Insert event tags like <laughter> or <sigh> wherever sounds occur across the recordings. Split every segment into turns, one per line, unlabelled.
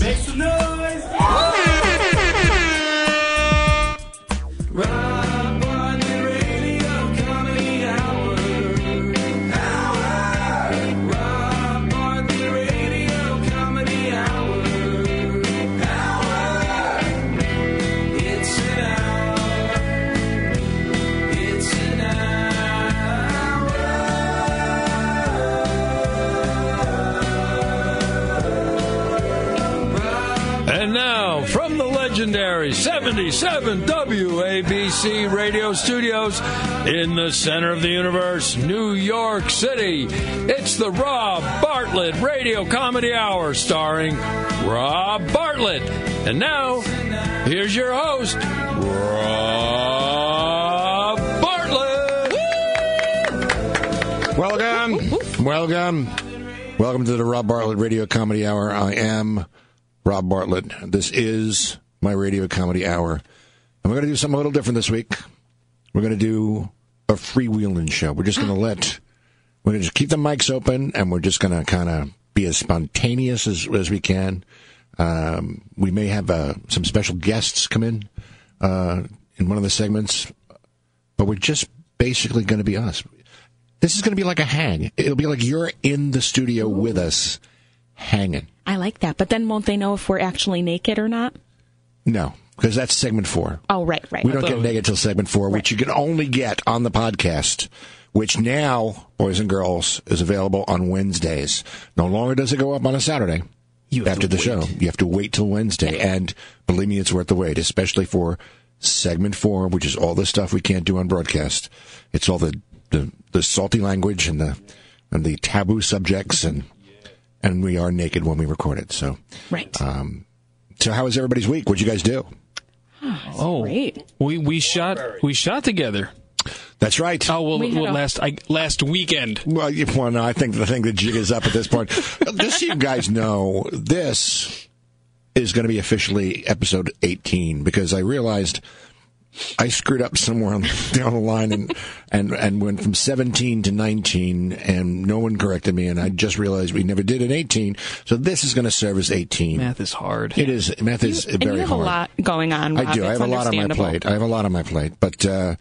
noise. Rob Bottin Radio Comedy Hour. Rob Bottin Radio Comedy Hour. It's an hour. It's an
And now, from the legendary 77 WABC radio studios in the center of the universe, New York City, it's the Rob Bartlett Radio Comedy Hour starring Rob Bartlett. And now, here's your host, Rob Bartlett.
Welcome. Welcome. Welcome to the Rob Bartlett Radio Comedy Hour. I am Rob Bartlett. This is my Radio Comedy Hour. And we're going to do something a little different this week. We're going to do a freewheeling show. We're just going to let, we're going to just keep the mics open and we're just going to kind of be as spontaneous as, as we can. Um, we may have uh, some special guests come in uh, in one of the segments, but we're just basically going to be us this is going to be like a hang. It'll be like you're in the studio with us, hanging.
I like that. But then won't they know if we're actually naked or not?
No, because that's segment four.
Oh, right, right.
We don't get naked till segment four, which you can only get on the podcast, which now, boys and girls, is available on Wednesdays. No longer does it go up on a Saturday. after the show, you have to wait till Wednesday, and believe me, it's worth the wait, especially for segment four, which is all the stuff we can't do on broadcast. It's all the the, the salty language and the and the taboo subjects, and and we are naked when we record it. So, um,
Right.
so how was everybody's week? What'd you guys do?
Oh,
Great.
we we shot we shot together.
That's right.
Oh well,
We had
well
a-
last I, last weekend.
Well, you, well, no, I think the thing the jig is up at this point. <laughs> Just so you guys know, this is going to be officially episode 18 because I realized I screwed up somewhere on, <laughs> down the line and, and and went from 17 to 19, and no one corrected me, and I just realized we never did an 18. So this is going to serve as 18.
Math is hard.
It is math is
and
very
you have
hard.
a lot going on. Rob.
I do. I
It's
have a lot on my
understandable.
plate. I have a lot on my plate, but uh,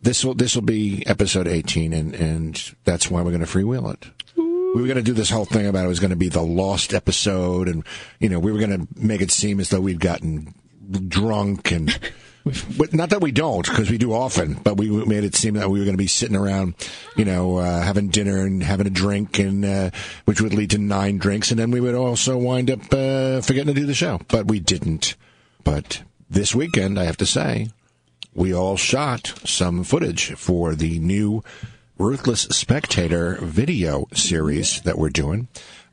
this will this will be episode eighteen, and and that's why we're going to freewheel it. We were going to do this whole thing about it was going to be the lost episode, and you know we were going to make it seem as though we'd gotten drunk and. But not that we don't, because we do often. But we made it seem that we were going to be sitting around, you know, uh, having dinner and having a drink, and uh, which would lead to nine drinks, and then we would also wind up uh, forgetting to do the show. But we didn't. But this weekend, I have to say, we all shot some footage for the new Ruthless Spectator video series that we're doing.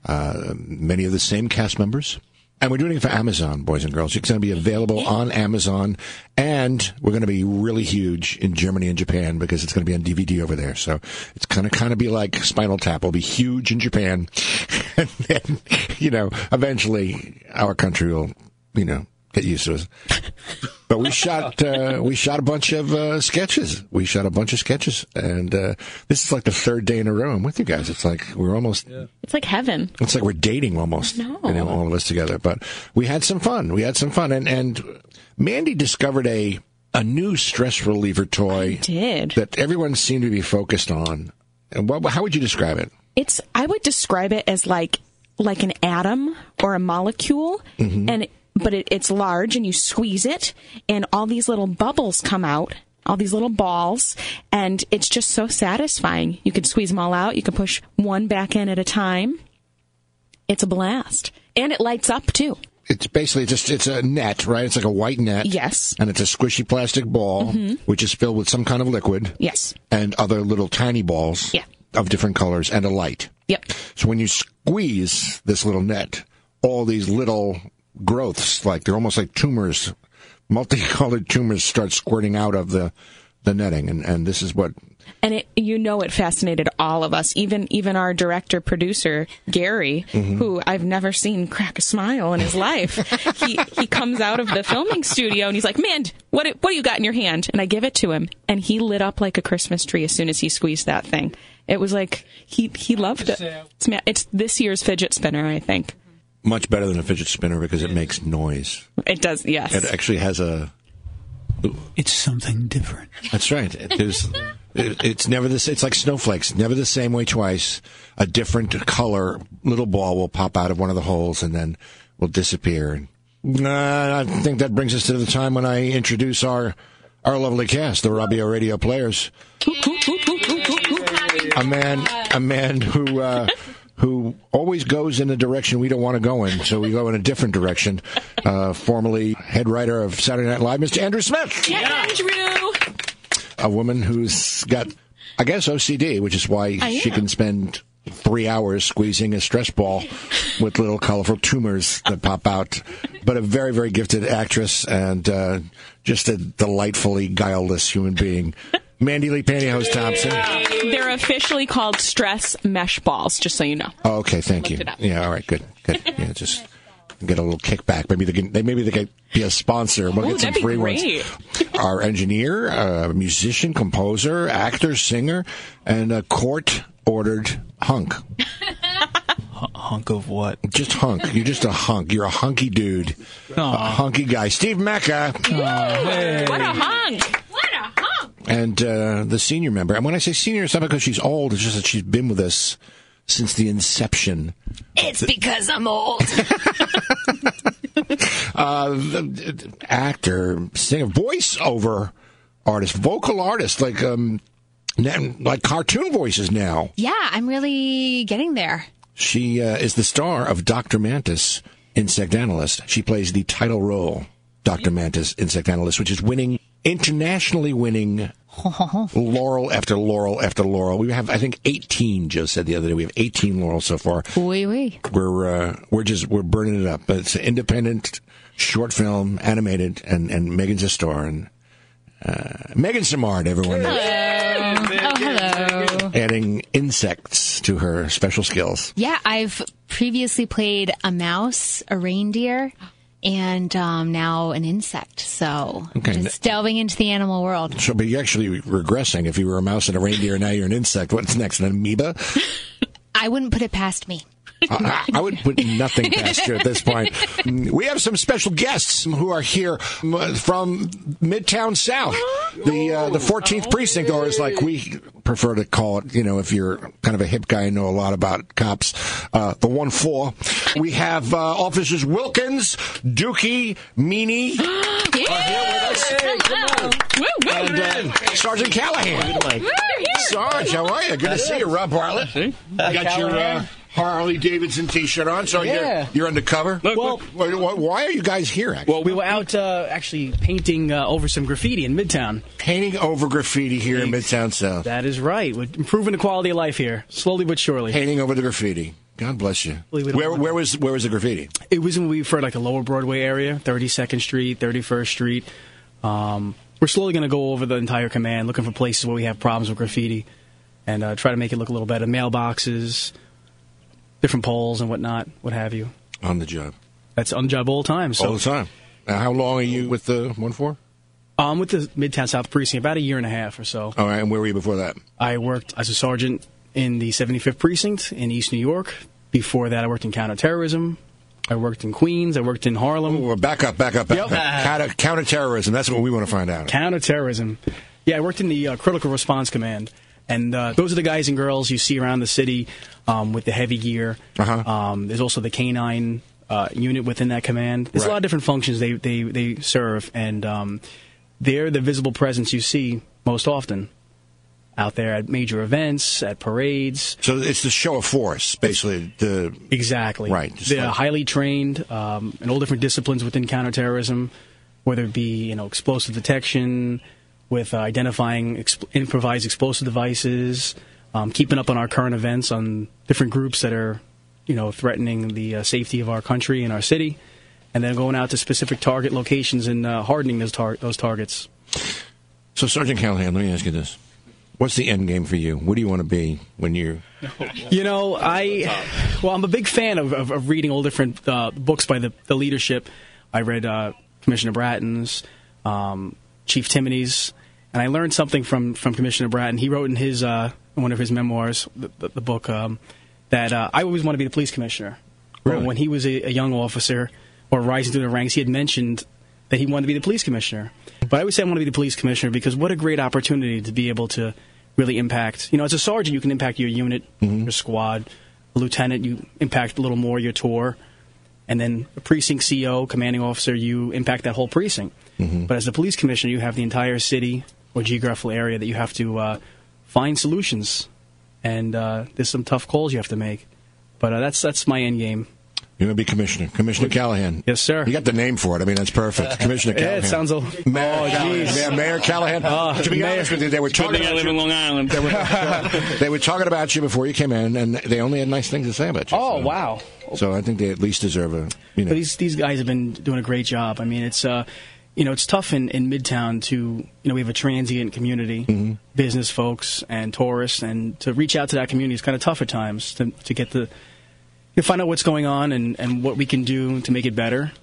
Uh, many of the same cast members. And we're doing it for Amazon, boys and girls. It's going to be available on Amazon, and we're going to be really huge in Germany and Japan because it's going to be on DVD over there. So it's going to kind of be like Spinal Tap. Will be huge in Japan, <laughs> and then you know, eventually our country will, you know, get used to us. But we shot uh, we shot a bunch of uh, sketches. We shot a bunch of sketches, and uh, this is like the third day in a row. I'm with you guys. It's like we're almost
It's like heaven.
it's like we're dating almost.
No.
You know, all of us together. But we had some fun. We had some fun, and and Mandy discovered a a new stress reliever toy
Did.
that everyone seemed to be focused on. And what, how would you describe it?
it's I would describe it as like like an atom or a molecule
Mm-hmm.
and but it, it's large and you squeeze it and all these little bubbles come out all these little balls and it's just so satisfying you can squeeze them all out you can push one back in at a time it's a blast and it lights up too
It's basically just it's a net, right? It's like a white net.
Yes. Mm-hmm.
And it's a squishy plastic ball, which is filled with some kind of liquid.
yes
and other little tiny balls
Yeah.
of different colors and a light.
yep
So when you squeeze this little net, all these little growths, like they're almost like tumors, multicolored tumors start squirting out of the, the netting. And, and this is what,
and it, you know it fascinated all of us even even our director producer gary who i've never seen crack a smile in his life he he comes out of the filming studio and he's like man what what do you got in your hand and i give it to him and he lit up like a christmas tree as soon as he squeezed that thing it was like he he loved it it's, ma- it's this year's fidget spinner i think
much better than a fidget spinner because it makes noise.
It does, yes.
It actually has a.
It's something different.
That's right. It- There's. It, it's never this. It's like snowflakes. Never the same way twice. A different color little ball will pop out of one of the holes and then will disappear. And nah, I think that brings us to the time when I introduce our our lovely cast, the Robbio Radio Players. a man a man who uh, who always goes in a direction we don't want to go in, so we go in a different direction. Uh, formerly head writer of Saturday Night Live, Mr. Andrew Smith,
yeah, Andrew.
a woman who's got, I guess, OCD, which is why
I
she
am.
can spend three hours squeezing a stress ball with little colorful tumors that pop out. But a very, very gifted actress and uh, just a delightfully guileless human being. Mandy Lee Pantyhose Thompson.
They're officially called stress mesh balls, just so you know.
Oh, okay, thank you.
it up.
Yeah, all right, good, good. Yeah, just get a little kickback. Maybe they can. They maybe they could be a sponsor. We'll
Ooh,
get some
that'd be
free
great.
ones. Our engineer, uh, musician, composer, actor, singer, and a court ordered hunk.
Hunk of what?
Just hunk. You're just a hunk. You're a hunky dude. A hunky guy. Steve Mecca.
What a hunk!
and uh, the senior member. And when I say senior, it's not because she's old. It's just that she's been with us since the inception. It's because I'm old. uh, the- the actor, singer, voiceover artist, vocal artist, like um, na- like cartoon voices now.
Yeah, I'm really getting there.
She uh, is the star of Dr. Mantis, Insect Analyst. She plays the title role, Dr. Mantis, Insect Analyst, which is winning, internationally winning
Oh,
laurel after laurel after laurel. We have, I think, 18, Joe said the other day. We have 18 laurels so far.
Wee wee.
We're, uh, we're just, we're burning it up. But it's an independent short film, animated, and, and Megan's a star. And, uh, Megan Samard, everyone.
Oh, hello.
Adding insects to her special skills.
Yeah, I've previously played a mouse, a reindeer, and um, now an insect. So
Okay.
just delving into the animal world.
So, but you're actually regressing. If you were a mouse and a reindeer, now you're an insect. What's next? An amoeba?
I wouldn't put it past <gasps> me.
I, I would put nothing past you at this point. We have some special guests who are here m- from Midtown South, the uh, the 14th precinct, or is like we prefer to call it. You know, if you're kind of a hip guy and know a lot about cops, uh, the one four. We have uh, officers Wilkins, Dookie, Meany,
Woo, woo.
and uh, Sergeant Callahan. Sarge, how are you? Good to see you, Rob Bartlett. You got your uh, Harley Davidson T-shirt on, so
Yeah.
you're you're undercover.
Well-
Why- why, why are you guys here? Actually,
Well, we were out uh, actually painting uh, over some graffiti in Midtown.
painting over graffiti here in Midtown South.
That is right. We're improving the quality of life here, slowly but surely.
Painting over the graffiti. God bless you.
Believe it or
Where,
not.
where was where was the graffiti?
It was when we for like the Lower Broadway area, 32nd Street, 31st Street. Um, we're slowly going to go over the entire command, looking for places where we have problems with graffiti, and uh, try to make it look a little better. Mailboxes, different poles, and whatnot, what have you.
On the job,
That's on the job all the time. So
all the time. Now, how long are you with the one four?
I'm with the Midtown South Precinct about a year and a half or so.
All right, and where were you before that?
I worked as a sergeant in the 75th Precinct in East New York. Before that, I worked in counterterrorism. I worked in Queens. I worked in Harlem.
Oh, Well, back up, back up, back
Yep.
up. Counter, counterterrorism. That's what we want to find out.
Counterterrorism. Yeah, I worked in the uh, Critical Response Command. And uh, those are the guys and girls you see around the city um, with the heavy gear.
Uh-huh.
Um, there's also the canine uh, unit within that command. There's
Right.
a lot of different functions they, they, they serve, and um, they're the visible presence you see most often out there at major events, at parades,
So it's the show of force, basically. The
Exactly.
Right, just
They're
like-
highly trained um, in all different disciplines within counterterrorism, whether it be you know explosive detection, with uh, identifying exp- improvised explosive devices, um, keeping up on our current events on different groups that are you know threatening the uh, safety of our country and our city, and then going out to specific target locations and uh, hardening those tar- those targets.
So, Sergeant Callahan, let me ask you this: What's the end game for you? What do you want to be
<laughs>
when you?
You know, I well, I'm a big fan of, of, of reading all different uh, books by the, the leadership. I read uh, Commissioner Bratton's, um, Chief Timony's, and I learned something from, from Commissioner Bratton. He wrote in his uh, in one of hir memoirs, the, the, the book, um, that uh, I always want to be the police commissioner. But
Really?
when he was a, a young officer or rising through the ranks, he had mentioned that he wanted to be the police commissioner. But I always say I want to be the police commissioner because what a great opportunity to be able to really impact. You know, as a sergeant, you can impact your unit, your squad. A lieutenant, you impact a little more your tour. And then a precinct CO, commanding officer, you impact that whole precinct.
Mm-hmm.
But as the police commissioner, you have the entire city or geographical area that you have to uh, find solutions. And uh, there's some tough calls you have to make. But uh, that's that's my end game.
You're going to be commissioner, Commissioner Callahan.
Yes, sir.
You got the name for it. I mean,
<laughs>
that's perfect, Commissioner
Yeah,
Callahan.
it sounds a-
Mayor
Oh,
Callahan.
jeez.
Mayor, Mayor Callahan.
Ah,
to be
Mayor.
honest with you, they were talking about you.
Long Island.
They
<laughs>
were, they were talking about you before you came in, and they only had nice things to say about you.
Oh,
so-
wow.
So I think they at least deserve a. You know,
But these these guys have been doing a great job. I mean, it's uh, you know, it's tough in, in Midtown to you know we have a transient community,
Mm-hmm.
business folks and tourists, and to reach out to that community is kind of tough at times to to get the you know, find out what's going on and and what we can do to make it better.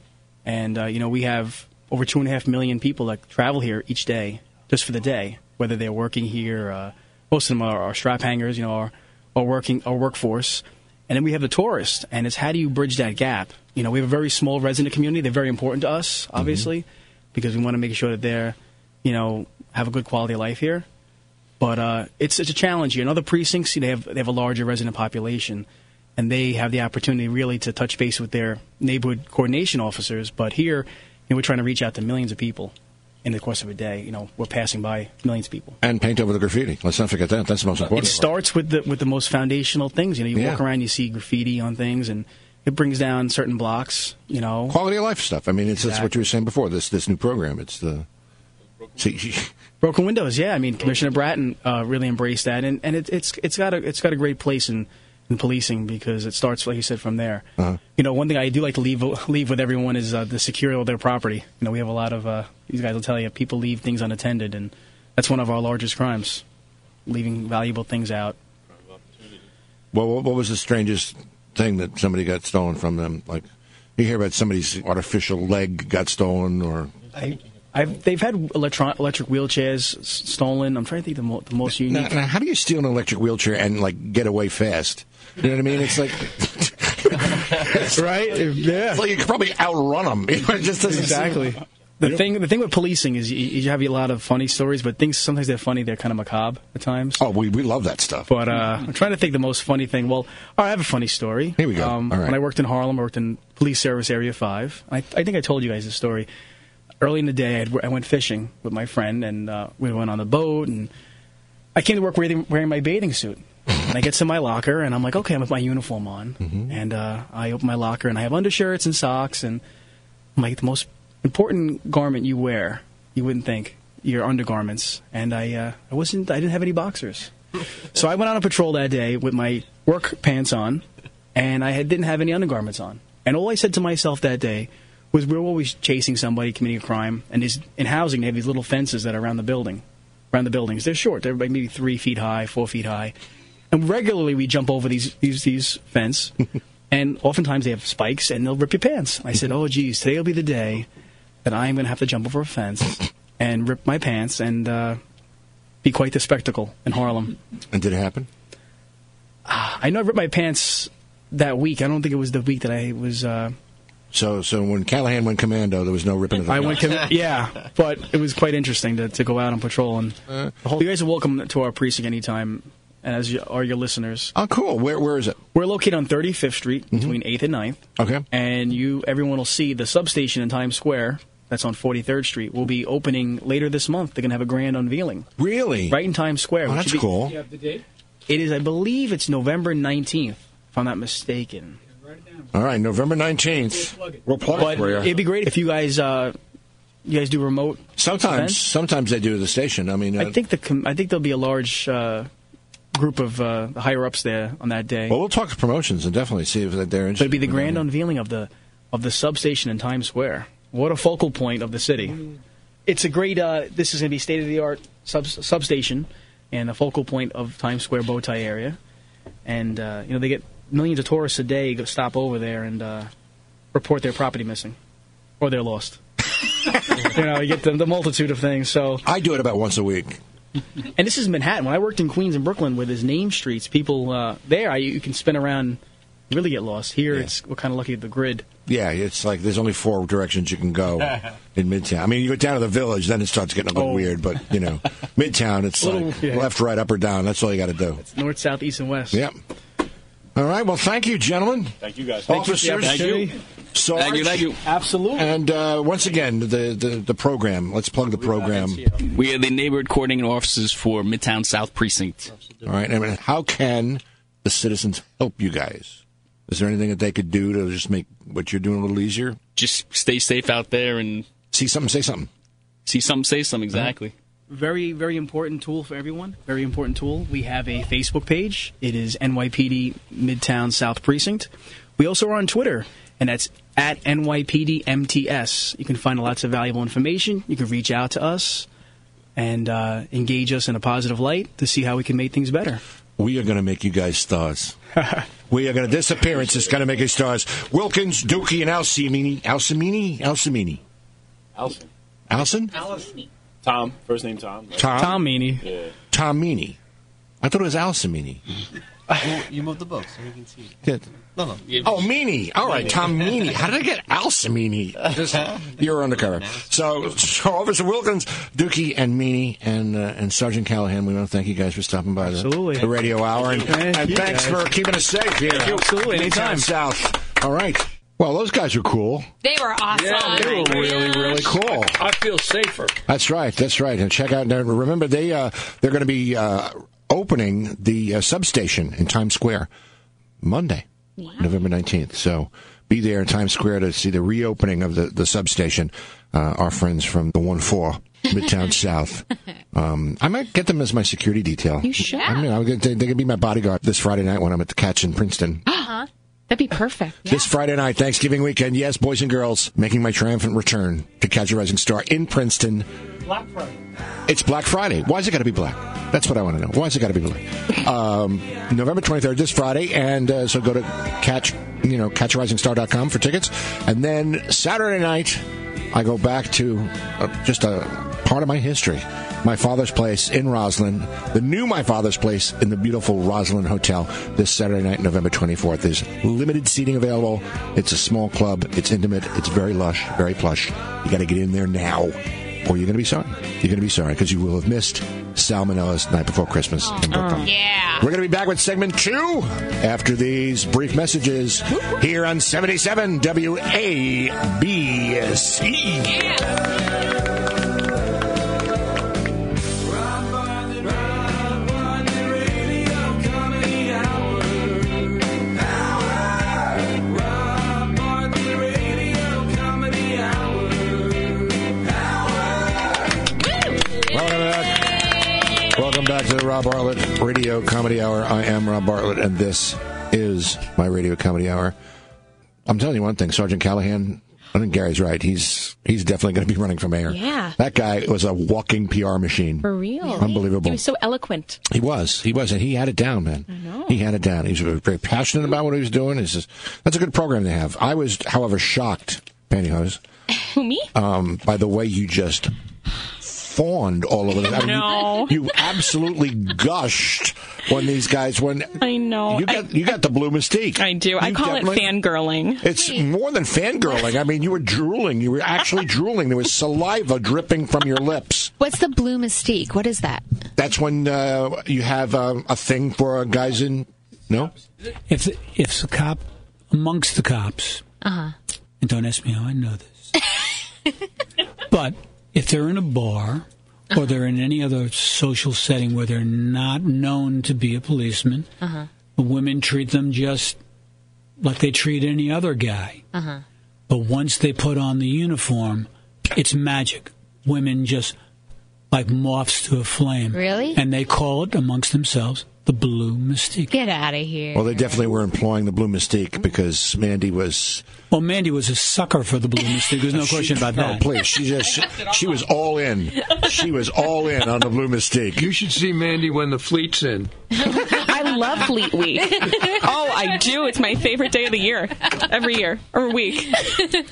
And uh, you know, we have over two and a half million people that travel here each day just for the day, whether they're working here. Uh, most of them are, are strap hangers, you know, our our working our workforce. And then we have the tourist, and it's how do you bridge that gap? You know, we have a very small resident community. They're very important to us, obviously, because we want to make sure that they're, you know, have a good quality of life here. But uh, it's it's a challenge here. In other precincts, you know, they have they have a larger resident population, and they have the opportunity really to touch base with their neighborhood coordination officers. But here, you know, we're trying to reach out to millions of people in the course of a day. You know, we're passing by millions of people.
and paint over the graffiti. Let's not forget that. That's the most
It
important.
starts with the with the most foundational things. You know, you walk
Yeah.
around, you see graffiti on things, and it brings down certain blocks. You know,
quality of life stuff. I mean, it's that's what you were saying before. This this new program. It's the. See, <laughs>
Broken Windows, yeah. I mean, Commissioner Bratton uh, really embraced that, and and it, it's it's got a it's got a great place in, in policing because it starts, like you said, from there.
Uh-huh.
You know, one thing I do like to leave leave with everyone is uh, the security of their property. You know, we have a lot of uh, these guys will tell you people leave things unattended, and that's one of our largest crimes, leaving valuable things out.
Well, what, what was the strangest thing that somebody got stolen from them? Like, you hear about somebody's artificial leg got stolen, or
I, I've, they've had electron, electric wheelchairs s- stolen. I'm trying to think the, mo- the <laughs> most
now,
unique.
now, how do you steal an electric wheelchair and like get away fast? You know what I mean? It's like,
right?
<laughs>
Yeah.
it's like you could probably outrun them. <laughs> It just doesn't
exactly. The thing, the thing with policing is you, you have a lot of funny stories, but things sometimes they're funny. They're kind of macabre at times.
Oh, we we love that stuff.
But uh, I'm trying to think the most funny thing. Well, all right, I have a funny story.
Here we go.
Um,
All right.
When I worked in Harlem, I worked in Police Service Area 5. I, I think I told you guys this story. Early in the day, I'd, I went fishing with my friend, and uh, we went on the boat, and I came to work wearing, wearing my bathing suit. And I get to my locker, and I'm like, okay, I'm with my uniform on.
Mm-hmm.
And uh, I open my locker, and I have undershirts and socks, and I'm like, the most important garment you wear, you wouldn't think, your undergarments. And I, uh, I wasn't, I didn't have any boxers. So I went on a patrol that day with my work pants on, and I had, didn't have any undergarments on. And all I said to myself that day was, "We're always chasing somebody committing a crime." And these, in housing, they have these little fences that are around the building, around the buildings. They're short; they're like maybe three feet high, four feet high. And regularly, we jump over these these these
<laughs>
fence, and oftentimes they have spikes, and they'll rip your pants. I said, "Oh, geez, today will be the day that I'm going to have to jump over a fence and rip my pants and uh, be quite the spectacle in Harlem."
And did it happen?
I know I ripped my pants that week. I don't think it was the week that I was. Uh,
So so when Callahan went commando, there was no ripping of the.
I went to yeah, but it was quite interesting to, to go out on patrol and.
Uh,
the whole, you guys are welcome to our precinct anytime, and as you, are your listeners.
Oh, cool. Where where is it? Mm-hmm.
We're located on 35th Street between 8th and 9th.
Okay.
And you, everyone will see the substation in Times Square. That's on 43rd Street. Will be opening later this month. They're going to have a grand unveiling
Really?
right in Times Square.
Oh,
which
that's
should be-
cool.
It is, I believe, it's November 19th, if I'm not mistaken.
All right, November nineteenth. We'll plug
But
it for you.
it'd be great if you guys uh, you guys do remote.
<laughs> sometimes,
events.
sometimes they do at the station. I mean, uh,
I think the com- I think there'll be a large uh, group of uh, the higher ups there on that day.
Well, we'll talk to promotions and definitely see if they're
but
interested.
it'd be the grand unveiling of the of the substation in Times Square. What a focal point of the
Mm-hmm.
city! It's a great. Uh, this is going to be state of the art sub- substation and a focal point of Times Square bow tie area. And uh, you know they get millions of tourists a day go stop over there and uh, report their property missing or they're lost. <laughs> you know, you get the, the multitude of things. So
I do it about once a week. Mm-hmm.
and this is Manhattan. When I worked in Queens and Brooklyn with his name streets, people uh, there, I, you can spin around You really get lost. Here,
Yeah.
it's we're kind of lucky at the grid.
Yeah, it's like there's only four directions you
<laughs>
can go in Midtown. I mean, you go down to the village, then it starts getting a little
Oh.
weird, but,
<laughs>
you know, Midtown, it's
Little-
like
yeah.
left, right, up, or down. That's all you got to do.
North, south, east, and west.
Yep. All right. Well, thank you, gentlemen. Thank you, guys. Officers,
Thank you.
Sarge,
Thank you, thank you.
Absolutely.
And uh, once again, the, the the program. Let's plug the program.
We are the neighborhood coordinating officers for Midtown South Precinct.
All right. I mean, how can the citizens help you guys? Is there anything that they could do to just make what you're doing a little easier?
Just stay safe out there and
See something, say something.
see something, say something. Exactly.
Mm-hmm. Very, very important tool for everyone. Very important tool. We have a Facebook page. It is NYPD Midtown South Precinct. We also are on Twitter, and that's at NYPDMTS. You can find lots of valuable information. You can reach out to us and uh, engage us in a positive light to see how we can make things better.
We are going to make you guys stars. we are going to this appearance is going to make you stars. Wilkins, Dookie, and Alcimini, Alcimini, Alcimini,
Allison.
Alcin,
Tom. First name Tom. Like,
Tom,
Tom Meany.
Tomini. I thought it was Alcimini.
You moved the book so we can see it.
Yeah.
No, no.
Oh, Meany. All right, Tom Meany. How did I get Alcimini? Just- You're undercover. So, so Officer Wilkins, Dookie, and Meany, and uh, and Sergeant Callahan, we want to thank you guys for stopping by the,
Absolutely.
the radio hour. And,
Thank
and
you,
thanks
guys.
for keeping us safe here.
you. Absolutely,
Midtown
anytime.
South. All right. Well, those guys were cool.
They were awesome.
Yeah, they were really, really
Cool.
I feel safer.
That's right. That's right. And check out. now, Remember, they uh, they're going to be uh, opening the uh, substation in Times Square Monday, November nineteenth. So be there in Times Square to see the reopening of the the substation. Uh, our friends from the one four Midtown South. Um, I might get them as my security detail. You
should.
I mean, I'm gonna, they, they can be my bodyguard this Friday night when I'm at the catch in Princeton.
Uh-huh.
That'd be perfect.
This Friday night, Thanksgiving weekend, yes, boys and girls, making my triumphant return to Catch a Rising Star in Princeton. It's Black Friday. Why's it got to be black? That's what I want to know. Why's it got to be black? Um, November 23rd, this Friday. And uh, so go to catch, you know, catchrisingstar.com for tickets. And then Saturday night, I go back to uh, just a part of my history. My father's place in Roslyn, the new My Father's Place in the beautiful Roslyn Hotel this Saturday night, November 24th. There's limited seating available. It's a small club. It's intimate. It's very lush, very plush. You got to get in there now or you're going to be sorry. You're going to be sorry because you will have missed Salmonella's Night Before Christmas. in Brooklyn.
Yeah.
We're going to be back with segment two after these brief messages here on 77 WABC. Welcome back. Welcome back to the Rob Bartlett Radio Comedy Hour. I am Rob Bartlett, and this is my Radio Comedy Hour. I'm telling you one thing, Sergeant Callahan. I think Gary's right. He's he's definitely going to be running for mayor.
Yeah.
that guy was a walking PR machine.
For real.
Unbelievable.
He was so eloquent.
He was. He was. And he had it down, man. I know. He had it down. He was very passionate about what he was doing. It's just, that's a good program to have. I was, however, shocked, Pantyhose,
<laughs> Who, me?
um, by the way you just fawned all over this. I
<laughs>
mean,
No.
you, you absolutely gushed when these guys, when
I know.
you
I-
got, you got the blue mystique.
I do. I
You
call it
definitely-
fangirling.
It's more than fangirling. I mean, you were drooling. You
<laughs>
were actually drooling. There was saliva dripping from your lips.
What's the blue mystique? What is that?
That's when uh, you have um, a thing for uh, guys in. No?
If the, if the cop amongst the cops,
Uh-huh.
and don't ask me how I know this, but if they're in a bar or they're in any other social setting where they're not known to be a policeman,
Uh-huh.
the women treat them just like they treat any other guy.
Uh-huh.
But once they put on the uniform, it's magic. Women just like moths to a flame.
Really?
And they call it amongst themselves the blue mystique.
Get out of here.
Well, they definitely were employing the blue mystique because Mandy was.
Well, Mandy was a sucker for
<laughs>
the blue mystique. There's no question about
Oh,
that.
please, she just she, she was all in. She was all in on the blue mystique.
You should see Mandy when the fleet's in.
I love
<laughs>
Fleet Week. oh, I do. It's my favorite day of the year. Every year or week.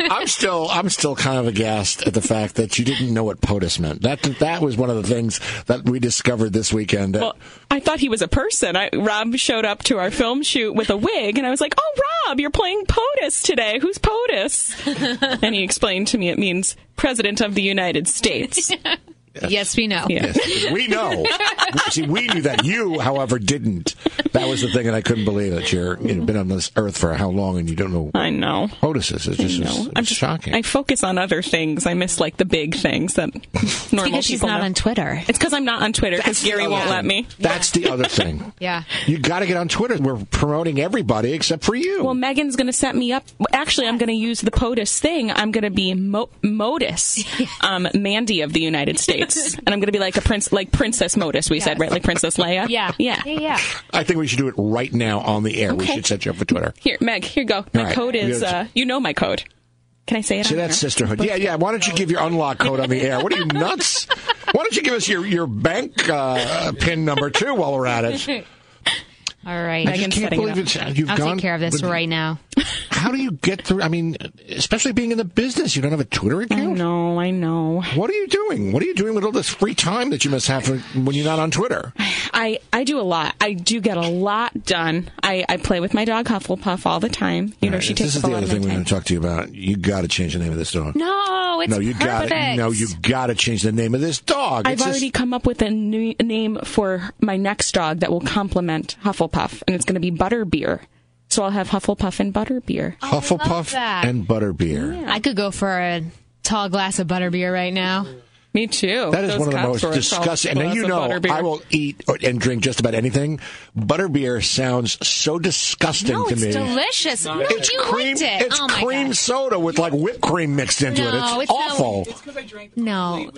I'm still I'm still kind of aghast at the fact that you didn't know what POTUS meant. That that was one of the things that we discovered this weekend.
Well, I thought he was a person. I, Rob showed up to our film shoot with a wig, and I was like, "Oh, Bob, you're playing POTUS today. Who's POTUS? and he explained to me it means President of the United States.
<laughs> Yes, we know.
Yes,
<laughs>
we know. See, we knew that. You, however, didn't. That was the thing, and I couldn't believe that you're you've been on this earth for how long, and you don't know.
I know.
POTUS is. It's just it's-
No,
it's shocking.
I focus on other things. I miss like the big things that normal
because she's
people
not
know.
on Twitter.
It's because I'm not on Twitter because Gary won't let me.
That's the other
<laughs>
thing.
Yeah.
You got to get on Twitter. We're promoting everybody except for you.
Well, Megan's going to set me up. Actually, I'm going to use the POTUS thing. I'm going to be Mo-
<laughs>
Modus, um, Mandy of the United States, and I'm going to be like a prince, like Princess Modus. We said right, like Princess Leia.
Yeah.
yeah.
Yeah.
I think we should do it right now on the air. We should set you up for Twitter.
Here, Meg. Here you go. My
All right.
code is.
Yes.
Uh, you know my code. Can I say it?
See,
on
that's
air?
sisterhood. Yeah, yeah. Why don't you give your unlock code on the air? What are you nuts? Why don't you give us your your bank uh, pin number too while we're
<laughs>
at it?
All right.
I just can't believe it's, you've
I'll
gone.
take care of this
but
right now.
How do you get through? I mean, especially being in the business, you don't have a Twitter account.
No, I know.
What are you doing? What are you doing with all this free time that you must have when you're not on Twitter?
I, I do a lot. I do get a lot done. I, I play with my dog Hufflepuff all the time. You know, she
this
takes up
is
a
the
lot
other
of my
thing we're
time.
going to talk to you about. You got to change the name of this dog.
No, Oh, it's
no, you got to
perfect.
no, you got to change the name of this dog.
I've
It's just-
already come up with a new name for my next dog that will complement Hufflepuff, and it's going to be Butterbeer. So I'll have Hufflepuff and
<laughs>
Butterbeer.
Hufflepuff
that.
and Butterbeer.
I could go for a tall glass of butterbeer right now.
Me
Oh,
too.
That is
Those
one of the
cops
most
were assault
disgusting. And then
glass
you
of
know,
Butterbeer.
I will eat or- and drink just about anything. Butterbeer sounds so disgusting
No,
to
it's
me.
delicious. No,
It's
you
cream.
liked it.
It's
oh my
cream
God.
soda with like whipped cream mixed into it.
No,
It's,
it's not-
awful.
No.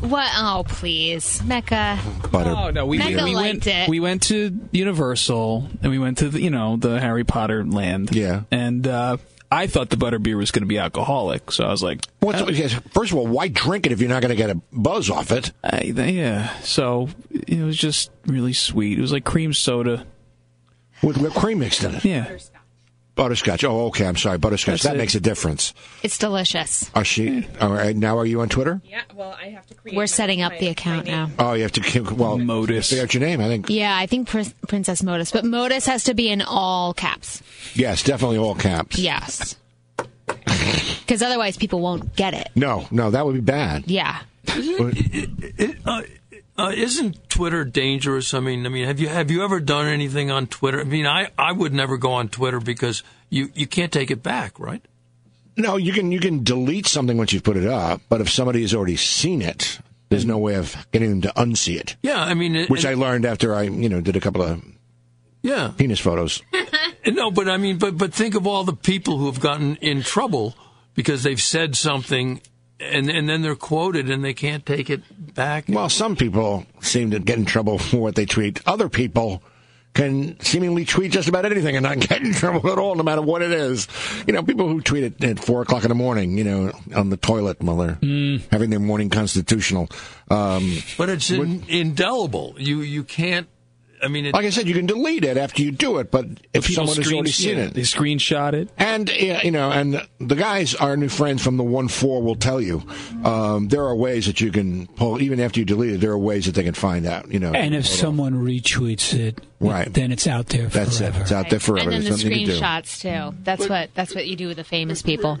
What? Oh, please, Mecca.
Butter.
Oh no, we,
Mega
we went.
liked it.
We went to Universal and we went to the, you know the Harry Potter land.
Yeah.
and uh, I thought the butterbeer was going to be alcoholic, so I was like,
What's, yes, First of all, why drink it if you're not going to get a buzz off it?
I, yeah. So it was just really sweet. It was like cream soda.
With whipped cream mixed in it.
Yeah,
Butterscotch. Oh, okay. I'm sorry. Butterscotch.
That's
that
it.
makes a difference.
It's delicious.
Are she? All right. Now are you on Twitter?
Yeah, well, I have to create.
We're setting up the account now.
Oh, you have to. keep- Well,
Modus.
figure out your name. I think.
Yeah, I think Prin- Princess Modus, but Modus has to be in all caps.
Yes, definitely all caps.
Yes. Because otherwise, people won't get it.
No, no, that would be bad.
Yeah.
Uh, uh, isn't Twitter dangerous? I mean, I mean, have you have you ever done anything on Twitter? I mean, I, I would never go on Twitter because you, you can't take it back, right?
No, you can you can delete something once you've put it up, but if somebody has already seen it, there's no way of getting them to unsee it.
Yeah, I mean, it-
Which I
it-
learned after I you know did a couple of
yeah,
penis photos.
no, but I mean, but but think of all the people who have gotten in trouble because they've said something, and and then they're quoted and they can't take it back.
Well, some people seem to get in trouble for what they tweet. Other people can seemingly tweet just about anything and not <laughs> get in trouble at all, no matter what it is. You know, people who tweet at, at four o'clock in the morning, you know, on the toilet while they're having their morning constitutional. Um,
But it's in, indelible. You you can't. I mean, it,
like I said, you can delete it after you do it, but if
People
someone has
screen-
already seen
yeah,
it,
They screenshot it.
And yeah, you know, and the guys, our new friends from the one four, will tell you um, there are ways that you can pull even after you delete it. There are ways that they can find out. You know,
And if someone retweets it,
Right.
then it's out there forever.
that's it. It's out there forever.
And then the
There's nothing you can do.
screenshots too. That's what that's what you do with the famous people.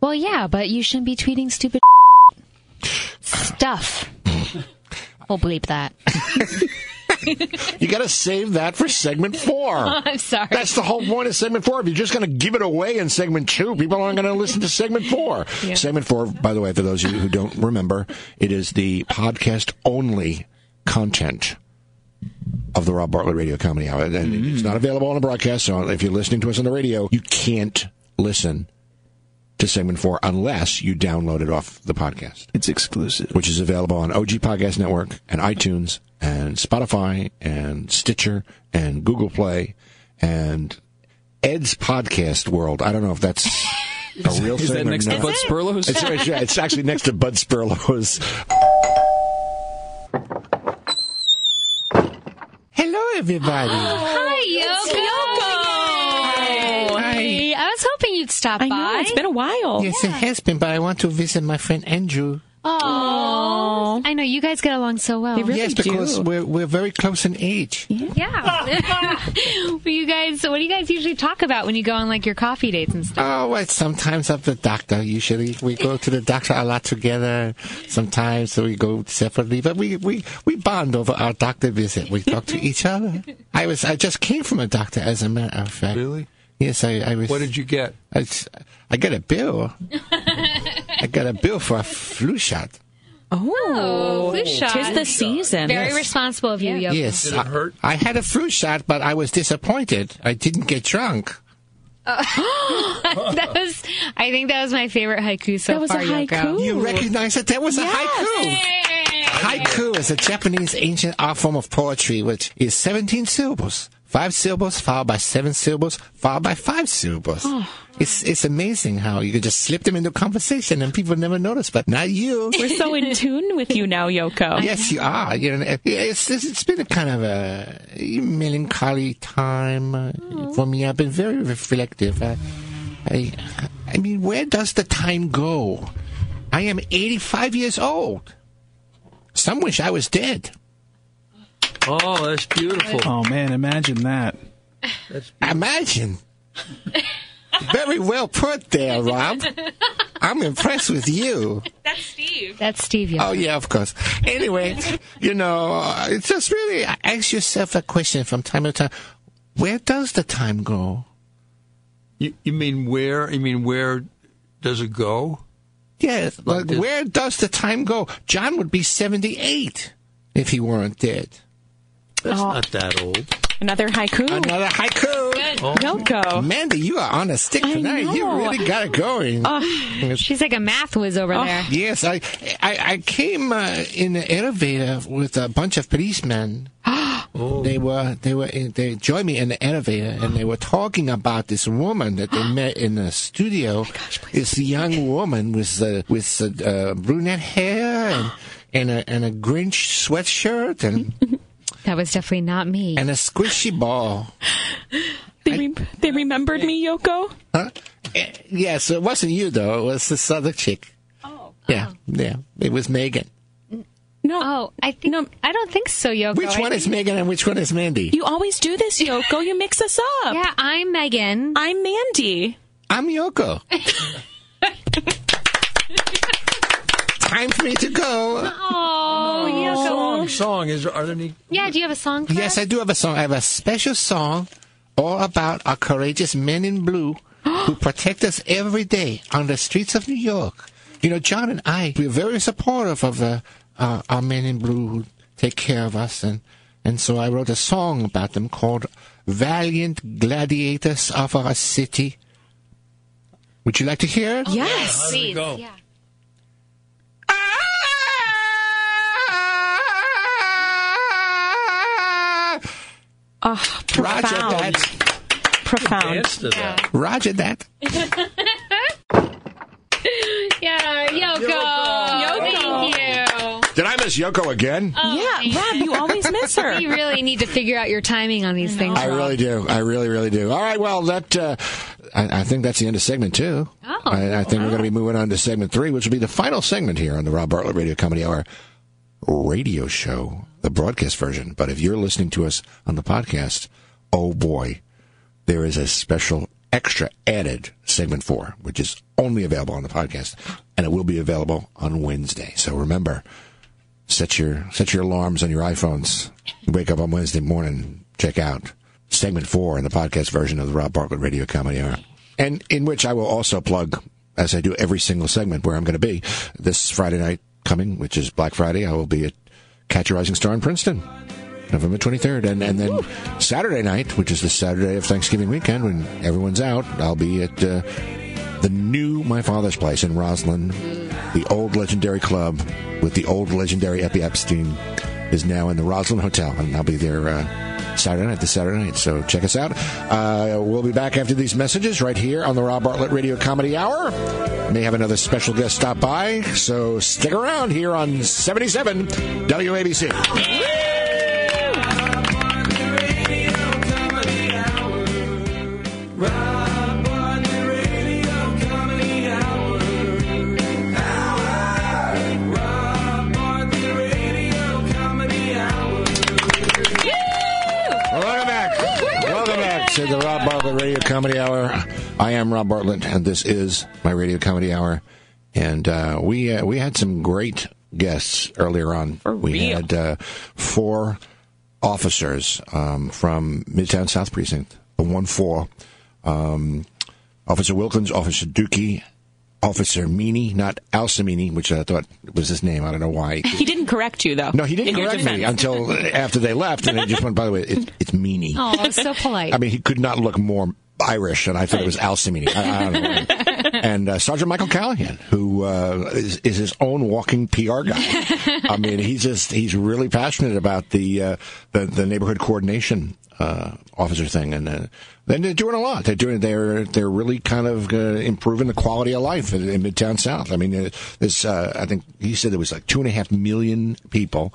Well, yeah, but you shouldn't be tweeting stupid
<laughs>
stuff. we'll bleep that.
You got to save that for
<laughs>
<laughs>
segment four.
I'm sorry.
That's the whole point of segment four. If you're just going to give it away in segment two, people aren't going to listen to segment four. Segment four, by the way, for those of you who don't remember, it is the podcast only content of the Rob Bartlett Radio Comedy Hour. And it's
Mm.
not available on the broadcast, so if you're listening to us on the radio, you can't listen to segment four unless you download it off the podcast
It's exclusive.
which is available on OG Podcast Network and iTunes and Spotify and Stitcher and Google Play and Ed's Podcast World. I don't know
<laughs>
if that's a real
Is
thing.
that
or
next to
not.
Bud Spurlow's?
It's, it's- yeah, it's actually next to Bud
<laughs>
Spurlow's. Hello, everybody.
Hi, Yoko. Hi. I was hoping you'd
<laughs>
stop
I
by.
know it's been a while.
it has been, but I want to visit my friend Andrew.
Aw.
well.
I know you guys get along so well.
yes, because we're we're very close in age.
yeah. <laughs> well, you guys, what do you guys usually talk about when you go on like your coffee dates and stuff?
Oh, it's sometimes of the doctor. Usually we go to the doctor a lot together. Sometimes we go separately, but we, we, we bond over our doctor visit. We talk to each other. I was I just came from a doctor, as a matter of fact. Really? Yes, I, I was. What did
you get?
I, s- I got a bill. I got a bill for a flu shot.
Oh,
flu shot.
Tis the season.
Very responsible of you, Yoko.
yes, I, I had a flu shot, but I was disappointed. I didn't get drunk.
Uh, <laughs> that was, I think that was my favorite haiku so
That was a
far. Yoko.
haiku. You recognize that that was a haiku. Haiku is a Japanese ancient art form of poetry which is 17 syllables. Five syllables followed by seven syllables followed by five syllables.
Oh.
It's it's amazing how you could just slip them into conversation and people never notice, but not you.
We're so in tune with you now, Yoko.
Yes, you are. You know, it's, it's it's been a kind of a melancholy time uh, for me. I've been very reflective. I, I, I mean, where does the time go? I am 85 years old. Some wish I was dead.
Oh, that's beautiful.
Oh man, imagine that.
Imagine. very well put there, Rob. I'm impressed with you.
That's Steve. That's Steve.
Oh yeah, of course. Anyway, you know, uh, it's just really ask yourself a question from time to time. Where does the time go?
You, you mean where? You mean where does it go?
Yes,
Like
like
this.
where does the time go? John would be seventy-eight if he weren't dead.
That's
Oh.
not that old.
Another haiku.
Another haiku.
Good.
Oh.
Yoko.
Mandy, you are on a stick
I
tonight. You
know. Oh,
really got it going. Yes.
She's like a math whiz over there.
Yes, I I, I came uh, in the elevator with a bunch
<gasps>
of policemen. They were they were in, they joined me in the elevator and they were talking about this woman that
<gasps>
they met in the
Oh
studio. this young woman with uh, with uh, uh, brunette hair and and a, and a Grinch sweatshirt and
<laughs> That was definitely not me.
and a squishy ball.
They, re- they remembered me, Yoko.
Huh? Eh, Yes, it wasn't you though. It was this other chick. Oh. Yeah, yeah. It was Megan.
<laughs> No.
Oh, I think I don't think so, Yoko.
Which
I
one is
think-
Megan and which one is Mandy?
You always do this, Yoko. You mix us up.
Yeah, I'm Megan.
I'm Mandy.
Hmm? I'm Yoko. Time for me to go.
Oh, Yoko.
Song, song. Is are there any?
Yeah, do you have a song? For
Yes, I do have a song. I have a special song all about our courageous men in blue who protect us every day on the streets of New York. You know, John and I, we're very supportive of uh, uh, our men in blue who take care of us. And, and so I wrote a song about them called Valiant Gladiators of Our City. Would you like to hear it?
yes.
Please.
go?
Yeah.
Oh, profound.
Roger that.
Profound.
Dance to that.
Roger that.
Yeah, Yoko.
Yoko.
Thank you.
Did I miss Yoko again?
Oh,
Yeah, Rob, you always
<laughs>
miss her.
We really need to figure out your timing on these things.
I
Rob.
really do. I really, really do. All right. Well, that uh, I, I think that's the end of segment two.
Oh.
I, I think we're going to be moving on to segment three, which will be the final segment here on the Rob Bartlett Radio Comedy Hour radio show, the broadcast version. But if you're listening to us on the podcast, oh boy, there is a special extra added segment four, which is only available on the podcast, and it will be available on Wednesday. So remember set your set your alarms on your iPhones. Wake up on Wednesday morning, check out segment four in the podcast version of the Rob Bartlett Radio Comedy Hour, and in which I will also plug, as I do every single segment, where I'm going to be this Friday night coming, which is Black Friday. I will be at Catch a Rising Star in Princeton. November 23rd, and, and then Saturday night, which is the Saturday of Thanksgiving weekend when everyone's out, I'll be at uh, the new My Father's Place in Roslyn, the old legendary club with the old legendary Epi Epstein is now in the Roslyn Hotel, and I'll be there uh, Saturday night, this Saturday night. So check us out. Uh, we'll be back after these messages right here on the Rob Bartlett Radio Comedy Hour. May have another special guest stop by, so stick around here on 77 WABC.
Comedy Hour. Hour. Rob Bartlett Rob Bartlett Radio Comedy Hour. I am Rob Bartlett, and this is my Radio Comedy Hour. And uh, we uh, we had some great guests earlier on. we
real.
had uh, four officers um, from Midtown South Precinct, the one four. Um, Officer Wilkins, Officer Dookie, Officer Meany, not Alsamini, which I thought was his name. I don't know why.
He didn't correct you, though.
No, he didn't
in your
correct me
defense.
until after they left, and I just went. By the way, it, it's Meany.
Oh, so
<laughs>
polite.
I mean, he could not look more Irish, and I thought it was Al Simini. I, I don't know. and uh, Sergeant Michael Callahan, who uh, is, is his own walking PR guy. I mean, he's just he's really passionate about the uh, the, the neighborhood coordination uh, officer thing, and uh, then they're doing a lot. They're doing they're they're really kind of uh, improving the quality of life in, in Midtown South. I mean, uh, this uh, I think he said there was like two and a half million people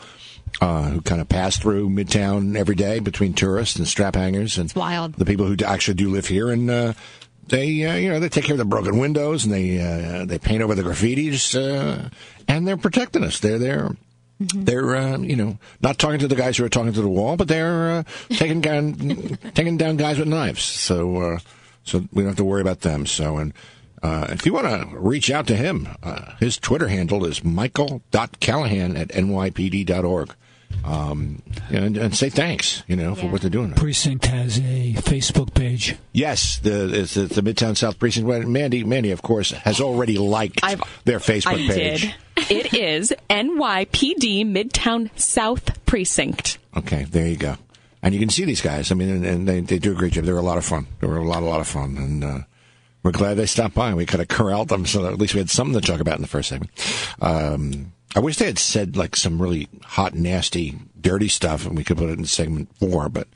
uh, who kind of pass through Midtown every day between tourists and strap hangers and
wild.
the people who d- actually do live here and. Uh, they, uh, you know, they take care of the broken windows and they uh, they paint over the graffitis, uh, and they're protecting us. They're there. They're, uh, you know, not talking to the guys who are talking to the wall, but they're uh, taking <laughs> down taking down guys with knives. So, uh, so we don't have to worry about them. So, and uh, if you want to reach out to him, uh, his Twitter handle is michael.callahan at nypd.org. Um, and, and say thanks, you know, for what they're doing.
Precinct has a Facebook page.
Yes, the it's, it's the Midtown South Precinct. Well, Mandy, Mandy, of course, has already liked their Facebook
I
page.
<laughs>
did. It is NYPD Midtown South Precinct.
Okay, there you go. And you can see these guys. I mean, and, and they, they do a great job. They were a lot of fun. They were a lot, a lot of fun. And uh, we're glad they stopped by. We could have corralled them so that at least we had something to talk about in the first segment. Um, I wish they had said like some really hot, nasty, dirty stuff and we could put it in segment four, but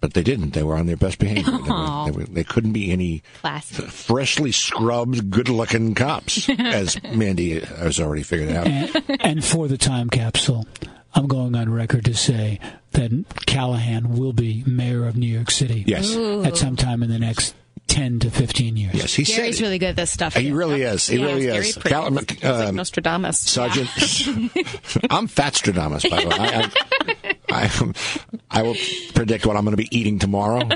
but they didn't. They were on their best behavior. They, were,
Aw.
they, were, they couldn't be any
Classic.
freshly scrubbed, good looking cops, as Mandy has already figured out.
And, and for the time capsule, I'm going on record to say that Callahan will be mayor of New York City.
Yes. Ooh.
At some time in the next 10 to 15 years.
Yes, he said
Gary's really good at this stuff.
He really is. He
Yeah,
really
Gary
is.
Pringle.
Cal- um,
Nostradamus.
Sergeant, <laughs>
<laughs>
I'm Fatstradamus, by the way. I, I, I, I will predict what I'm going to be eating tomorrow.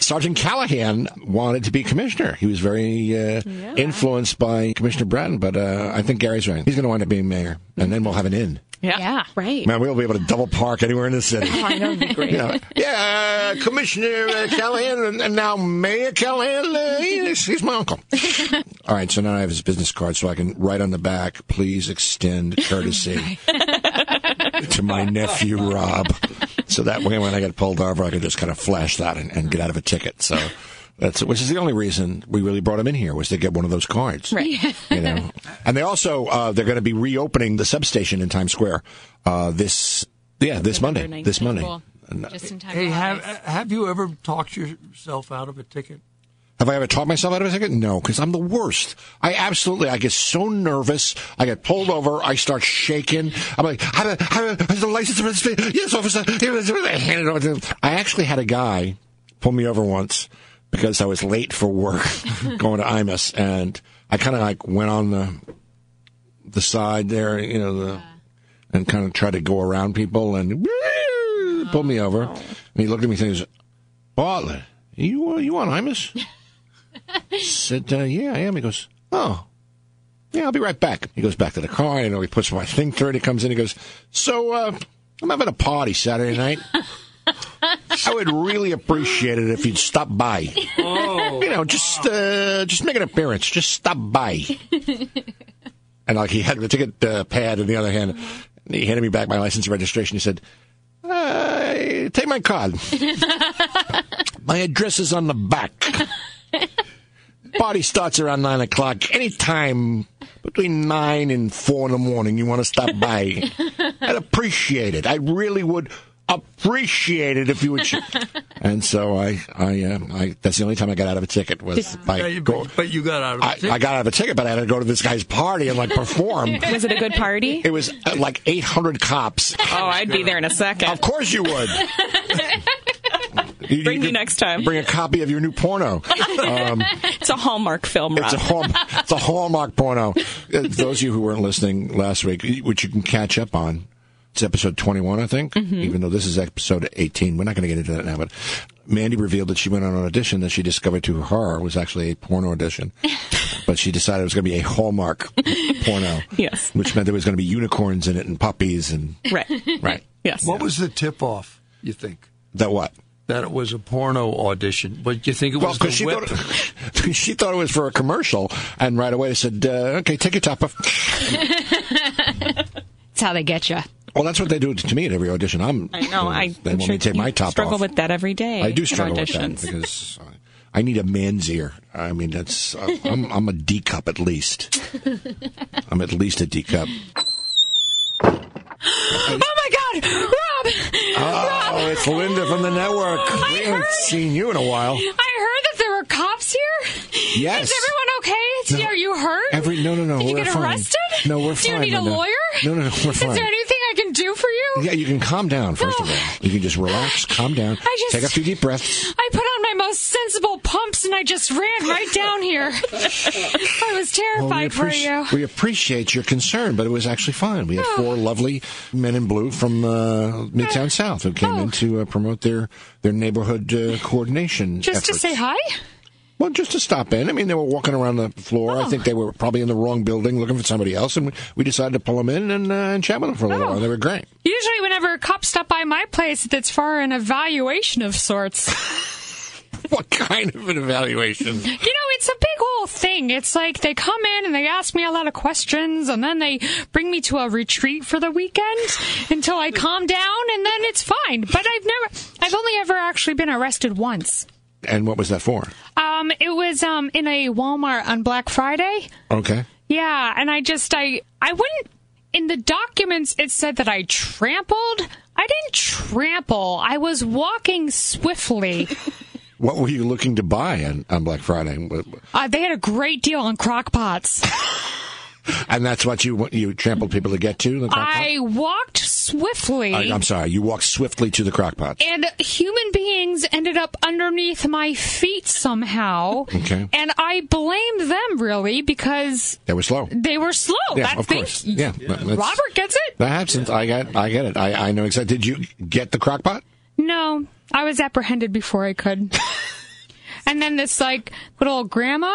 Sergeant Callahan wanted to be commissioner. He was very uh, influenced by Commissioner Bratton, but uh, I think Gary's right. He's going to wind up being mayor, and then we'll have an inn.
Yeah. Right.
Man, we'll be able to double park anywhere in the city.
Oh, I know, it'd be great.
You know, yeah, uh, Commissioner uh, Callahan, and- and now Mayor Callahan. Uh, he's, he's my uncle. All right, so now I have his business card, so I can write on the back, please extend courtesy <laughs> to my nephew Rob. So that way, when I get pulled over, I can just kind of flash that and, and get out of a ticket. So that's which is the only reason we really brought him in here was to get one of those cards.
Right.
<laughs>
You know, and they also uh, they're going to be reopening the substation in Times Square uh, this yeah this Monday this Monday. And-
Just in time.
Hey, have, have you ever talked yourself out of a ticket?
Have I ever taught myself out of a ticket? No, because I'm the worst. I absolutely, I get so nervous. I get pulled over. I start shaking. I'm like, how do, how do, is the license? for this- Yes, officer. Here it is. I hand it over to him. I actually had a guy pull me over once because I was late for work <laughs> going to IMUS and I kind of like went on the, the side there, you know, the, and kind of tried to go around people and pulled me over. And he looked at me and he goes, Bartlett, you, uh, you on IMUS? said, uh, yeah, I am. He goes, oh, yeah, I'll be right back. He goes back to the car. You know, he puts my thing through. And he comes in. He goes, so uh, I'm having a party Saturday night. I would really appreciate it if you'd stop by. you know, just uh, just make an appearance. Just stop by. and like he had the ticket uh, pad in the other hand. And he handed me back my license and registration. He said, uh, take my card. my address is on the back.
<laughs>
Party starts around nine o'clock. Anytime between nine and four in the morning, you want to stop
<laughs>
by. I'd appreciate it. I really would appreciate it if
<laughs>
you would. Sh-. And so I, I, uh, I, that's the only time I got out of a ticket was
Yeah,
by
you-
go.
but you got out of a
I,
ticket.
I got out of a ticket, but I had to go to this guy's party and like perform.
<laughs> Was it a good party?
It was uh, like eight hundred cops.
Oh, I'd be there in a second.
Of course
<laughs>
you would. You-
Bring
you
me next time.
Bring a copy of your
<laughs>
new porno.
<laughs>
Um,
it's a Hallmark film, Rob.
it's a hallmark, it's
<laughs>
a hallmark porno. Uh, Those of you who weren't listening last week, which you can catch up on it's episode 21, I think,
Mm-hmm.
even though this is episode 18. We're not going to get into that now, but Mandy revealed that she went on an audition that she discovered to her horror was actually a porno
<laughs>
audition. but she decided it was going to be a Hallmark porno.
<laughs> Yes.
Which meant there was going to be unicorns in it and puppies and.
Right.
<laughs>
Right.
<laughs> Yes. What was the tip off, you think?
That what?
That it was a porno audition. But you think it
Well,
was
'cause
the
she
whip?
she thought it was <laughs> for a commercial, and right away they said, uh, okay, take your top off.
That's how they get you.
Well, that's what they do to me at every audition. I'm.
I
Oh,
know. I
They want me to take my top
struggle
off.
with that every day.
I do
in
struggle with that
<laughs>
auditions.
because I I need a man's ear. I mean, that's I'm I'm a D cup at least. I'm at least a
<laughs>
D cup.
Oh my God, <gasps> Rob!
Oh, it's Linda from the network.
Oh,
we haven't seen you in a while.
I heard that there were cops here.
Yes.
Is everyone okay?
No.
Are you hurt?
Every no no no.
Did you
we're
get
fine.
arrested?
No, we're
Do you
fine.
need a
Linda.
lawyer?
No no no. We're
Is
fine.
there anything I can do for you?
yeah, you can calm down first of all. You can just relax, calm down,
I just-
take a few deep breaths.
I put on my most sensible pumps and I just ran right down here.
<laughs>
I was
Well,
terrified
we,
for you. Oh.
appreci- we appreciate your concern, but it was actually fine. We had four lovely men in blue from uh, Midtown South who
Oh.
came in to uh, promote their their neighborhood uh, coordination.
Just to
efforts.
say hi?
well, just to stop in. I mean, they were walking around the floor.
Oh.
I think they were probably in the wrong building looking for somebody else, and we, we decided to pull them in and, uh, and chat with them for a
Oh.
little while. They were great. <laughs>
Usually, whenever cops stop by my place, it's for an evaluation of sorts.
What kind of an evaluation?
You know, it's a big whole thing. It's like they come in and they ask me a lot of questions, and then they bring me to a retreat for the weekend until I calm down, and then it's fine. But I've never, I've only ever actually been arrested once.
And what was that for?
Um, it was um in a Walmart on Black Friday.
Okay.
Yeah, and I just I I wouldn't in the documents it said that I trampled. I didn't trample. I was walking
<laughs>
swiftly.
What were you looking to buy on, on Black Friday?
Uh, they had a great deal on crock pots.
And that's what you you trampled people to get to? The crock pot?
I walked swiftly.
I, am sorry. You walked swiftly to the crock pot.
and human beings ended up underneath my feet somehow.
Okay.
And I blame them really because
They were slow.
they were slow.
Yeah,
That
of
thing-
course. Yeah, but that's-
Robert gets it?
That happens. I get. I get it. I, I know exactly. Did you get the crock pot?
No, I was apprehended before I
<laughs>
could. and then this like good old grandma,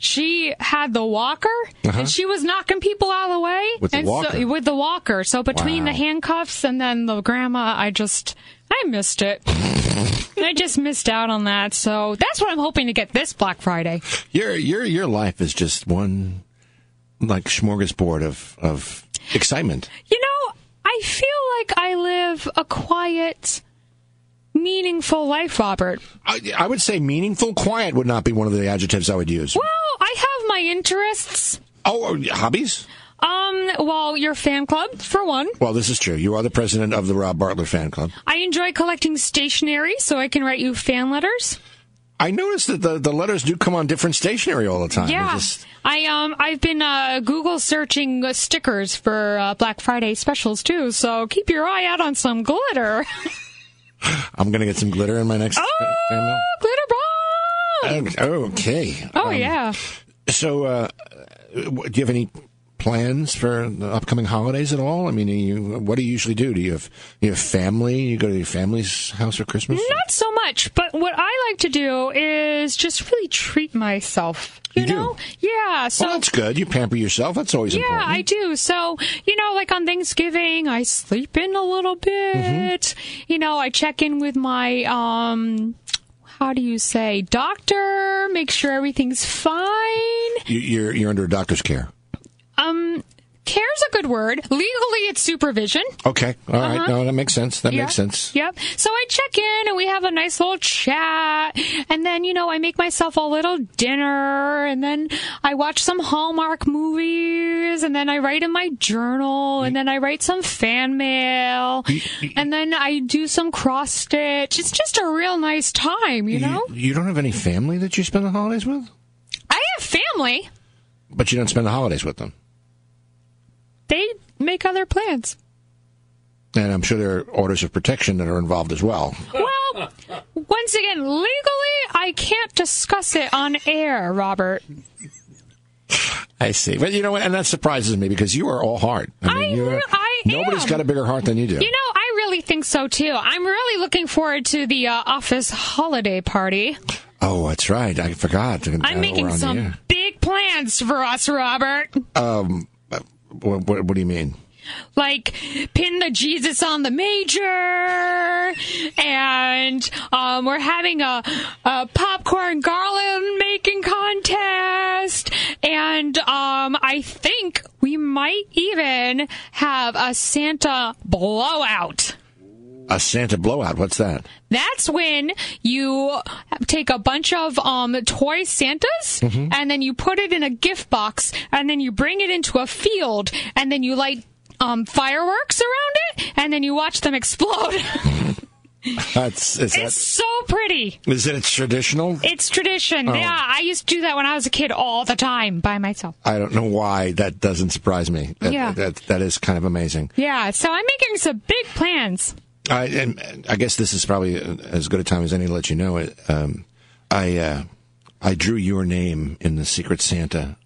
she had the walker
Uh-huh.
and she was knocking people out of the way
With the
and So,
walker?
with the walker. So between
Wow.
the handcuffs and then the grandma, I just I missed
<laughs>
it. I just missed out on that. So that's what I'm hoping to get this Black Friday.
Your your your life is just one like smorgasbord of of excitement.
You know, I feel like I live a quiet meaningful life, Robert.
I, I would say meaningful quiet would not be one of the adjectives I would use.
Well, I have my interests.
Oh, hobbies.
Um, well, your fan club, for one.
Well, this is true. You are the president of the Rob Bartlett fan club.
I enjoy collecting stationery, so I can write you fan letters.
I noticed that the, the letters do come on different stationery all the time.
yeah,
It's just-
I um, I've been uh, Google searching uh, stickers for uh, Black Friday specials too. So keep your eye out on some glitter, <laughs>
I'm gonna get some glitter in my next. uh,
Oh,
fan mail.
glitter
Okay.
bomb. Oh
Um,
yeah.
So, uh, w- do you have any plans for the upcoming holidays at all? I mean, are you, what do you usually do? Do you have you have family? You go to your family's house for Christmas?
Not so much, but what I like to do is just really treat myself. You, know? Yeah. So
well, that's good. You pamper yourself. That's always
yeah,
important.
I do. So, you know, like on Thanksgiving, I sleep in a little bit. You know, I check in with my um how do you say, doctor, make sure everything's fine.
You, you're you're under a doctor's care.
Um care's a good word. Legally, it's supervision.
Okay. All right.
Uh-huh.
No, that makes sense. That
Yeah.
makes sense.
Yep. So I check in and we have a nice little chat. And then, you know, I make myself a little dinner and then I watch some Hallmark movies and then I write in my journal and then I write some fan mail and then I do some cross stitch. It's just a real nice time, you know?
You don't have any family that you spend the holidays with,
I have family.
but you don't spend the holidays with them.
They make other plans.
And I'm sure there are orders of protection that are involved as well.
Well, once again, legally, I can't discuss it on air, Robert.
I see. But you know what? And that surprises me because you are all heart. I mean, you're,
I really
Nobody's
am.
got a bigger heart than you do.
You know, I really think so too. I'm really looking forward to the uh, office holiday party.
oh, that's right. I forgot. Now
I'm
we're
making
on the
some
air.
big plans for us, Robert.
Um, what, what, what do you mean?
Like pin the Jesus on the major, and um, we're having a, a popcorn garland making contest, and um, I think we might even have a Santa blowout.
A Santa blowout.
<laughs>
What's that?
That's when you take a bunch of um, toy Santas
Mhm.
and then you put it in a gift box and then you bring it into a field and then you light um, fireworks around it and then you watch them explode. <laughs>
That's is
it's so pretty.
that is it? It's traditional.
It's tradition.
Oh.
Yeah, I used to do that when I was a kid all the time by myself.
I don't know why that doesn't surprise me. That,
Yeah.
that that is kind of amazing.
Yeah, so I'm making some big plans.
I and I guess this is probably as good a time as any to let you know. it. Um, I uh, I drew your name in the Secret Santa.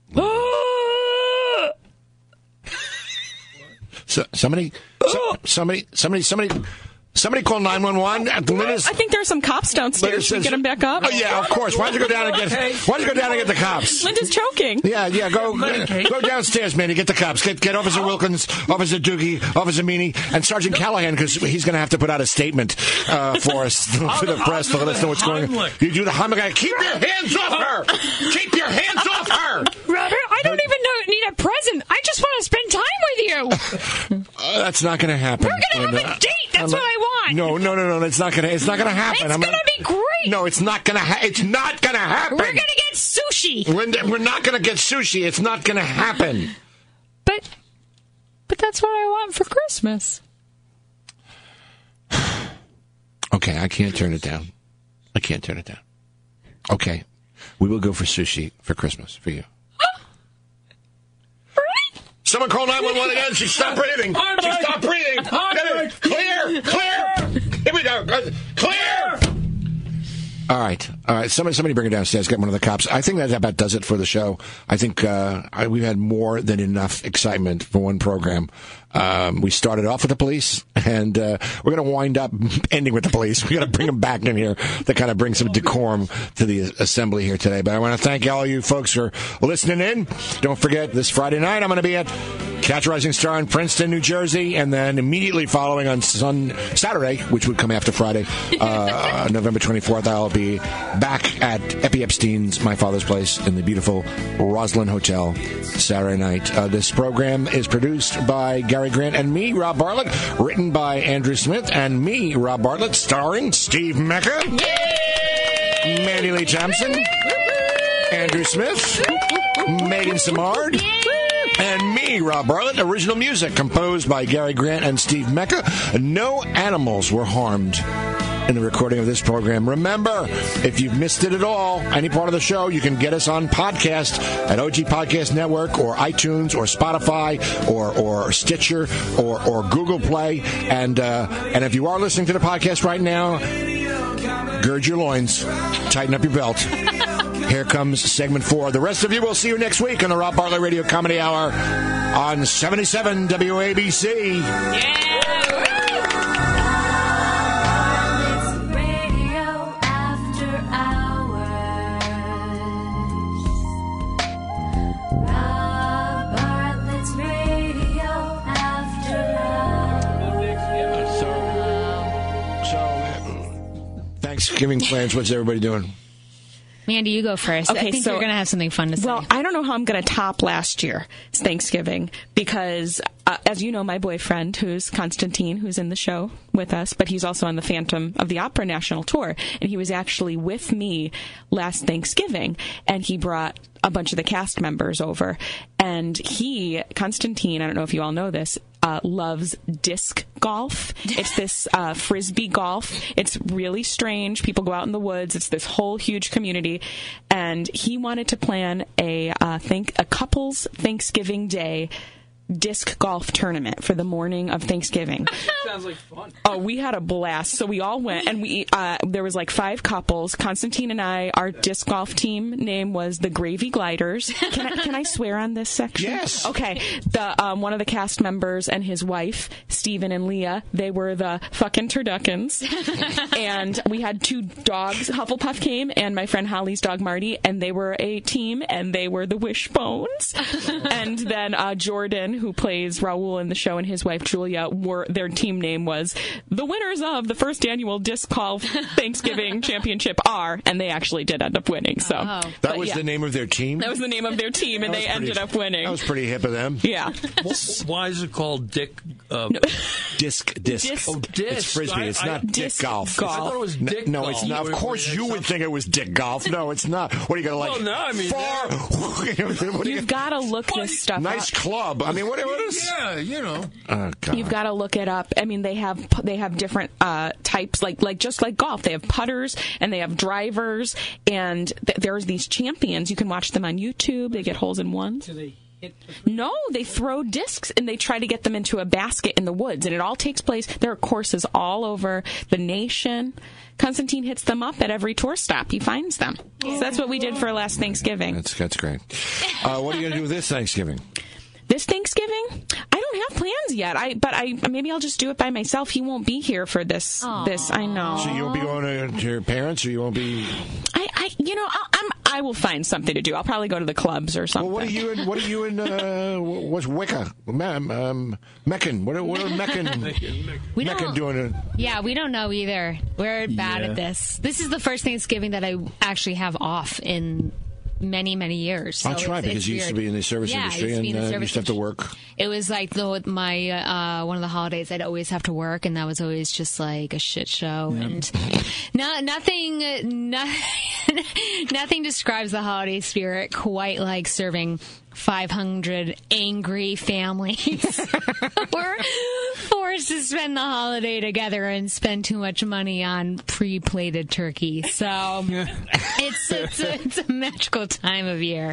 So somebody,
Oh!
so, somebody, somebody, somebody, somebody call nine one one.
I think there are some cops downstairs. Should we get them back up?
Oh yeah, of course. Why don't you go down and get? Why don't you go down and get the cops?
Linda's choking.
Yeah, yeah. Go go downstairs, Manny. Get the cops. Get get Officer Wilkins, Officer Doogie, Officer Meany, and Sergeant Callahan because he's going to have to put out a statement
<laughs>
uh, for us for the press to let us know what's going on. You do the Heimlich. Keep your hands off her. Keep your hands off her.
<laughs> Robert, I don't even know, need a present. I just want to spend time with you.
Uh, that's not going to happen.
We're gonna have a date. That's what I want.
No, no, no, no. That's not going to. It's not going to happen.
It's gonna be great.
No, it's not going to. Ha- it's not going to happen.
We're going to get sushi.
Linda, we're not going to get sushi. It's not going to happen.
But but that's what I want for Christmas.
Okay, I can't turn it down. I can't turn it down. Okay, we will go for sushi for Christmas for you. Someone call 911 again. She stopped breathing. She stopped breathing. Get it. Clear. Clear. Here we go. Clear. All right, all right. Somebody, somebody, bring her downstairs. Get one of the cops. I think that about does it for the show. I think uh, I, we've had more than enough excitement for one program. Um, we started off with the police, and uh, we're going to wind up <laughs> ending with the police. We got to bring them back in here to kind of bring some decorum to the assembly here today. But I want to thank all you folks for listening in. Don't forget this Friday night I'm going to be at Catch a Rising Star in Princeton, New Jersey, and then immediately following on Sun Saturday, which would come after Friday, uh, November 24th, I'll be back at Epi Epstein's My Father's Place in the beautiful Roslyn Hotel Saturday night. Uh, this program is produced by Gary Grant and me, Rob Bartlett, written by Andrew Smith and me, Rob Bartlett, starring Steve Mecca, Mandy Lee Thompson, Andrew Smith, Megan Samard. And me, Rob Bartlett. Original music composed by Gary Grant and Steve Mecca. No animals were harmed in the recording of this program. Remember, if you've missed it at all, any part of the show, you can get us on podcast at OG Podcast Network or iTunes or Spotify or, or Stitcher or, or Google Play. And, uh, and if you are listening to the podcast right now, gird your loins, tighten up your belt. Here comes segment four. The rest of you, we'll see you next week on the Rob Bartlett Radio Comedy Hour on 77 WABC.
Radio after hours. Rob Bartlett's radio after hours.
So, uh, Thanksgiving plans, what's everybody doing?
Mandy, you go first. I think you're going to have something fun to say.
Well, I don't know how I'm going to top last year's Thanksgiving because, uh, as you know, my boyfriend, who's Constantine, who's in the show with us, but he's also on the Phantom of the Opera national tour, and he was actually with me last Thanksgiving, and he brought a bunch of the cast members over, and he, Constantine, I don't know if you all know this. Uh, loves disc golf. It's this uh, frisbee golf. It's really strange. People go out in the woods. It's this whole huge community, and he wanted to plan a uh, think a couples Thanksgiving Day
disc golf tournament for the morning of Thanksgiving.
Sounds like fun.
Oh, we had a blast. So we all went, and we uh, there was like five couples. Constantine and I. Our disc golf team name was the Gravy Gliders. Can I, can I swear on this section?
Yes.
Okay. The um, one of the cast members and his wife, Stephen and Leah, they were the fucking turduckins, and we had two dogs. Hufflepuff came, and my friend Holly's dog Marty, and they were a team, and they were the Wishbones. and then uh, Jordan, who plays Raul in the show, and his wife Julia were their team name was the winners of the first annual disc golf Thanksgiving championship are, and they actually did end up winning. So
That was the name of their team.
That was the name of their team, and
That was
they
pretty-
ended up winning.
That was pretty hip of them.
<laughs>
yeah.
Why is it called Dick? Uh,
Disc, disc.
Disc.
Oh, disc.
It's frisbee. It's
I- I-
not dick
disc
golf.
golf. I thought it was
N-
dick
No,
golf.
it's not. Of
You-
course, you would think it was dick golf. No, it's not. What are you gonna like?
Well, no, I mean,
far. <laughs> what are you,
You've got to <laughs> look this stuff
nice
up.
club. I mean, what, what is?
Yeah, you know.
Oh God.
You've got to look it up. I mean, they have they have different uh, types, like like just like golf. They have putters and they have drivers, and th- there's these champions. You can watch them on YouTube. They get holes in one. No, they throw discs and they try to get them into a basket in the woods, and it all takes place. There are courses all over the nation. Constantine hits them up at every tour stop. He finds them. So that's what we did for last Thanksgiving.
That's that's great. Uh, what are you gonna do this Thanksgiving?
this Thanksgiving, I don't have plans yet. I but I maybe I'll just do it by myself. He won't be here for this. This I know.
So you won't be going to, to your parents, or you won't be.
I, I you know I'll, I'm I will find something to do. I'll probably go to the clubs or something.
Well, what are you in? What are you in? Uh, wh- what's Wicca? Ma'am, um, Meccan. What are, what are <laughs> Meccan?
We
Meccan
don't-
doing? it.
Yeah, we don't know either. We're bad
Yeah.
at this. This is the first Thanksgiving that I actually have off in many, many years. So
I'll try
it's-
because
it's
you used to
weird.
be in the service
Yeah, I
industry
used to be
and
in the
uh, you
service
used to have to work.
It was like the my uh, one of the holidays I'd always have to work, and that was always just like a shit show. And no, nothing, no, <laughs> nothing describes the holiday spirit quite like serving 500 angry families. <laughs> We're forced to spend the holiday together and spend too much money on pre-plated turkey. So it's, it's a, it's a magical time of year.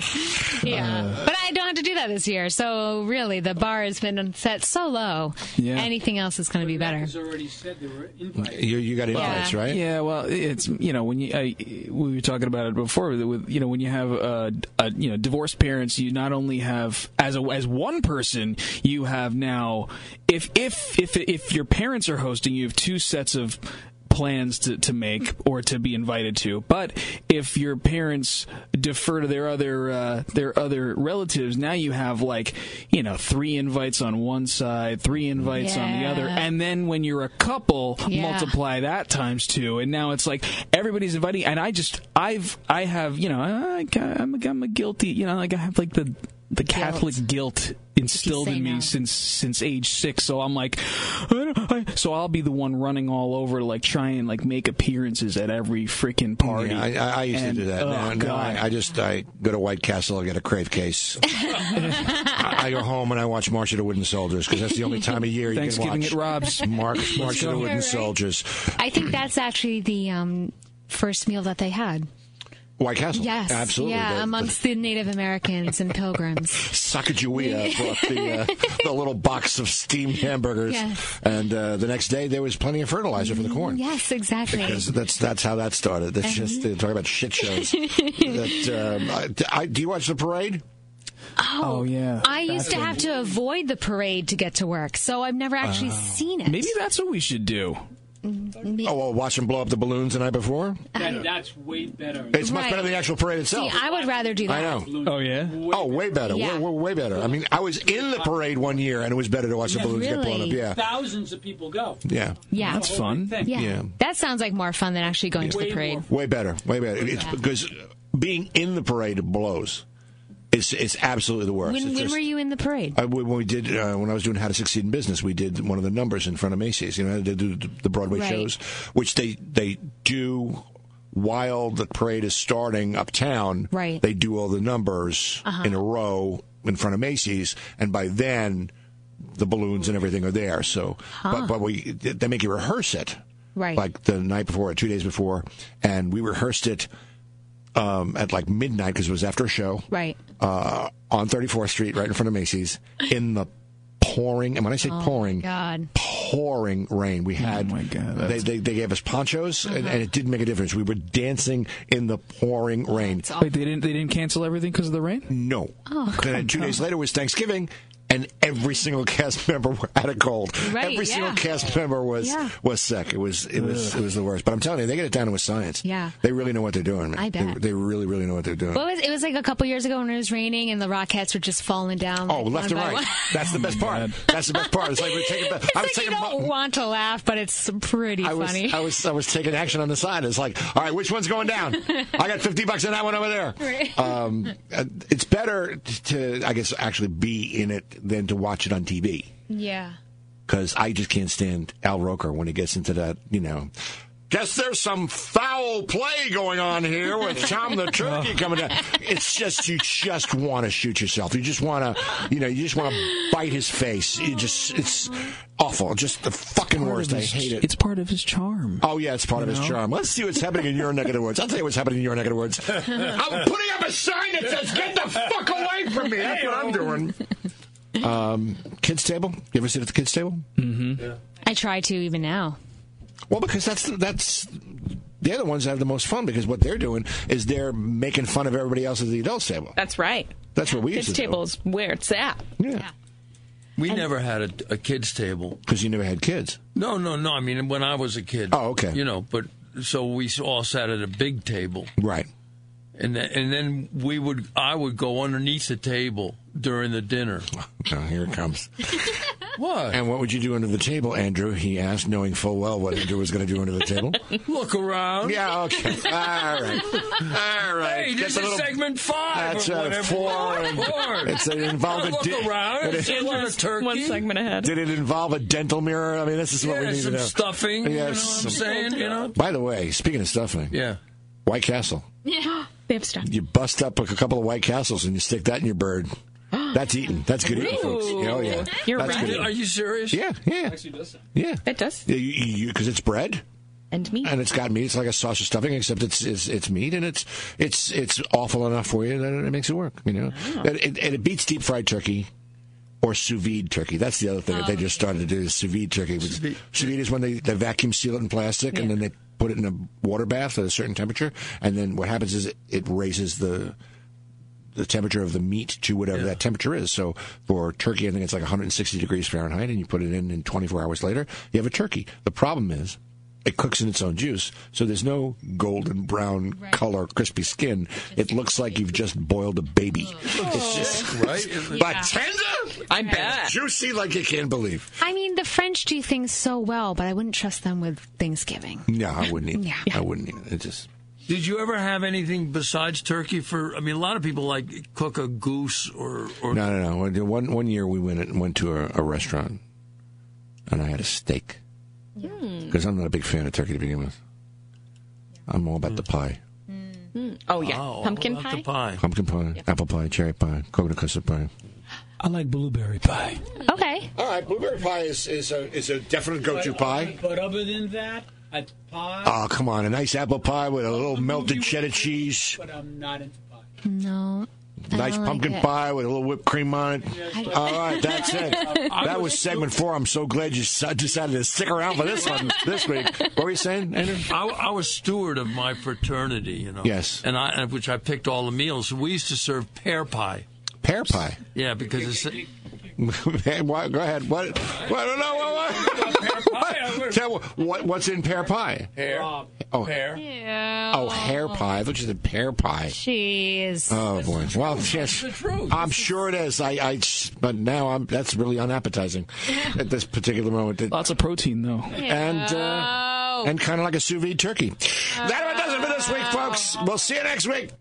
Yeah, but I don't have to do that this year. So really, the bar has been set so low.
Yeah.
Anything else is going to be better.
already said there were
You you got invites, right?
Yeah, well, it's you know when you I, we were talking about it before with- with you know when you have uh, uh you know divorced parents, you not only have as a, as one person, you have now if if if if your parents are hosting, you have two sets of plans to, to make or to be invited to but if your parents defer to their other uh, their other relatives now you have like you know three invites on one side three invites on the other
Yeah.
and then when you're a couple
Yeah.
multiply multiply that times two, and now it's like everybody's inviting. And I just, I've, I have, you know, I, I'm, a, I'm a guilty, you know, like I have like the the Catholic guilt instilled
say
in me
no.
since since age six. So I'm like, I don't, I, so I'll be the one running all over, like trying and like make appearances at every freaking party.
Yeah, I, I, I used
And,
to do that.
Oh
now,
God.
now I, I just I go to White Castle, I get a
<laughs>
crave case. I, I go home and I watch March of the Wooden Soldiers because that's the only time of year you can
Thanksgiving
watch
at Rob's.
<laughs> Mark, March of
go.
the Wooden
Right.
Soldiers.
I think that's actually the um, first meal that they had.
White Castle.
Yes,
absolutely.
Yeah,
The-
amongst the Native Americans and pilgrims.
the Sacagawea brought the,
<laughs>
uh, the little box of steamed hamburgers,
Yes.
and uh, the next day there was plenty of fertilizer for the corn.
Yes, Mm-hmm. exactly.
Because that's that's how that started. That's just uh, talking about shit shows. that, um, I, I, do you watch the parade?
oh yeah,
I used to have to avoid the parade to get to work, so I've never actually seen it. Mm-hmm.
Maybe that's what we should do.
Oh, well, watch them blow up the balloons the night before.
That, that's way better.
It's much
Right.
better than the actual parade
See,
itself.
I would rather do
I
that.
know.
Oh yeah,
oh, way better.
Yeah.
We're, we're way better. I mean, I was in the parade one year, and it was better to watch the balloons get blown up.
really?
Yeah,
Thousands of people go.
yeah,
Yeah.
that's fun.
yeah.
yeah.
That sounds like more fun than actually going to
Way
the parade.
more.
Way better. Way better. It's because being in the parade blows. It's it's absolutely the worst.
When,
It's
when
just-
were you in the parade?
I, when we did uh, when I was doing How to Succeed in Business, we did one of the numbers in front of Macy's. You know, they do the Broadway
Right.
shows, which they they do while the parade is starting uptown.
Right. Uh-huh.
They do all the numbers in a row in front of Macy's, and by then the balloons and everything are there. So, but but we they make you rehearse it.
Right.
Like the night before, or two days before, and we rehearsed it um, at like midnight because it was after a show
Right.
uh, on 34th Street, right in front of Macy's, in the pouring, and when I say
Oh
pouring, pouring rain. We had, they, they, they gave us ponchos, and,
Uh-huh.
and it didn't make a difference. We were dancing in the pouring
Oh,
rain.
Wait, they didn't they didn't cancel everything because of the rain?
No.
Oh,
then two days later was Thanksgiving, and every single cast <laughs> member had a cold.
Right,
every single
yeah.
cast member was
Yeah.
was sick. It was it was
Ugh.
it was the worst. But I'm telling you, they get it down with science.
Yeah.
they really know what they're doing. man.
I
They-
bet.
they, really really know what they're doing.
What was it was like a couple years ago when it was raining and the Rockettes were just falling down.
Oh,
like,
left and
one by
right.
one. <laughs>
That's the best part. That's the best part. It's like we're taking.
It's
I was
like you
taking.
don't want to laugh, but it's pretty
I was,
funny.
I was I was taking action on the side. It's like, all right, which one's going
<laughs>
down? I got fifty bucks on that one over there.
Right.
Um, uh, it's better to, I guess, actually be in it than to watch it on TV.
yeah.
because I just can't stand Al Roker when he gets into that, you know. Guess there's some foul play going on
<laughs>
here with Tom
Oh.
the Turkey coming down. It's just you just want to shoot yourself. You just want to, you know, you just want to bite his face. You just, it's awful. Just the fucking worst. I hate it.
It's part of his charm.
Oh yeah, it's part of
You
his
know?
charm. Let's see what's happening in your neck of the woods. I'll tell you what's happening in your neck of the woods.
<laughs>
I'm putting up a sign that says "Get the fuck away from me." That's what I'm doing. Um, kids table. You ever sit at the kids table?
Mm.
Mm-hmm.
I try to even now.
Well, because that's that's they're the ones that have the most fun because what they're doing is they're making fun of everybody else at the adults table.
That's right.
That's what we used
Kids
to
tables where it's at.
Yeah.
We never had a, a kids table
because you never had kids.
No, no, no. I mean, when I was a kid.
Oh, okay.
You know, but so we all sat at a big table,
right?
And then, and then we would, I would go underneath the table during the dinner.
do. Oh, here it comes.
<laughs> What?
And what would you do under the table, Andrew? He asked, knowing full well what Andrew was going to do under the table.
Look around. <laughs>
Yeah, okay. All right. All right.
Hey,
That's
this
a
is
little-
segment five.
That's
or
a
whatever.
four.
Four.
It's an involved.
Look around. Is there a turkey? One segment
ahead.
Did it involve a dental mirror? I mean, this is what we
Yeah,
need
some
to know.
stuffing. you know what I'm
Yes, some-
saying? You know?
By the way, speaking of stuffing,
yeah,
White Castle.
Yeah. <gasps> They have stuff.
You bust up a couple of White Castles and you stick that in
<gasps>
your bird. That's eating. That's <laughs> good eating, folks.
Ooh.
Oh yeah,
You're
That's
right.
good eating.
Are you serious?
Yeah, yeah, yeah.
It does.
Yeah, you because it's bread.
And meat.
And it's got meat. It's like a sausage stuffing, except it's it's, it's meat, and it's it's it's awful enough for you that it makes it work. You know,
Oh.
and, it, and it beats deep fried turkey or sous vide turkey. That's the other thing that
Oh.
they just started to do is sous vide turkey. Sous vide, is when they, they vacuum seal it in plastic and then they put it in a water bath at a certain temperature, and then what happens is it, it raises the the temperature of the meat to whatever that temperature is. So for turkey, I think it's like 160 degrees Fahrenheit, and you put it in, and 24 hours later, you have a turkey. The problem is, it cooks in its own juice, so there's no golden brown color, crispy skin. It looks like you've just boiled a baby.
Oh.
It's just
right,
but
Yeah.
tender. I bet juicy like you can't believe.
I mean, the French do things so well, but I wouldn't trust them with Thanksgiving.
No, I wouldn't even.
Yeah.
I wouldn't even. It just
Did you ever have anything besides turkey for? I mean, a lot of people like cook a goose or or
no, no, no. One one year we went went to a, a restaurant, and I had a steak.
Mm.
Hmm.
Because I'm not a big fan of turkey to begin with. I'm all about the pie.
Mm. Oh yeah. Pumpkin pie.
Pumpkin pie, apple pie, cherry pie, coconut custard pie.
I like blueberry pie.
Mm. Okay.
All right, blueberry pie is, is a is a definite go-to pie.
But other than that, a pie.
Oh, come on, a nice apple pie with a
Oh,
little melted cheddar cheese,
But I'm not into pie.
No. I
nice
don't like
pumpkin
it.
pie with a little whipped cream on
I-
it. All right, that's it.
<laughs> I
That was segment four. I'm so glad you s- decided to stick around for this one this week. What were you saying, Andrew?
I, I was steward of my fraternity, you know.
Yes.
and I and which I picked all the meals. We used to serve pear pie.
Pear pie. <laughs>
Yeah, because it's
Hey, what- Go ahead. What? What? No, what? What? Tell what? What's in pear pie?
pear.
Oh,
pear.
Oh, hair pie. I thought you said pear pie.
Jeez.
Oh boy. Well, yes,
the truth.
I'm sure it is. I, I, but now I'm. That's really unappetizing at this particular moment. Lots
of protein though,
and uh, and kind of like a sous vide turkey. That about does it for this week, folks. We'll see you next week.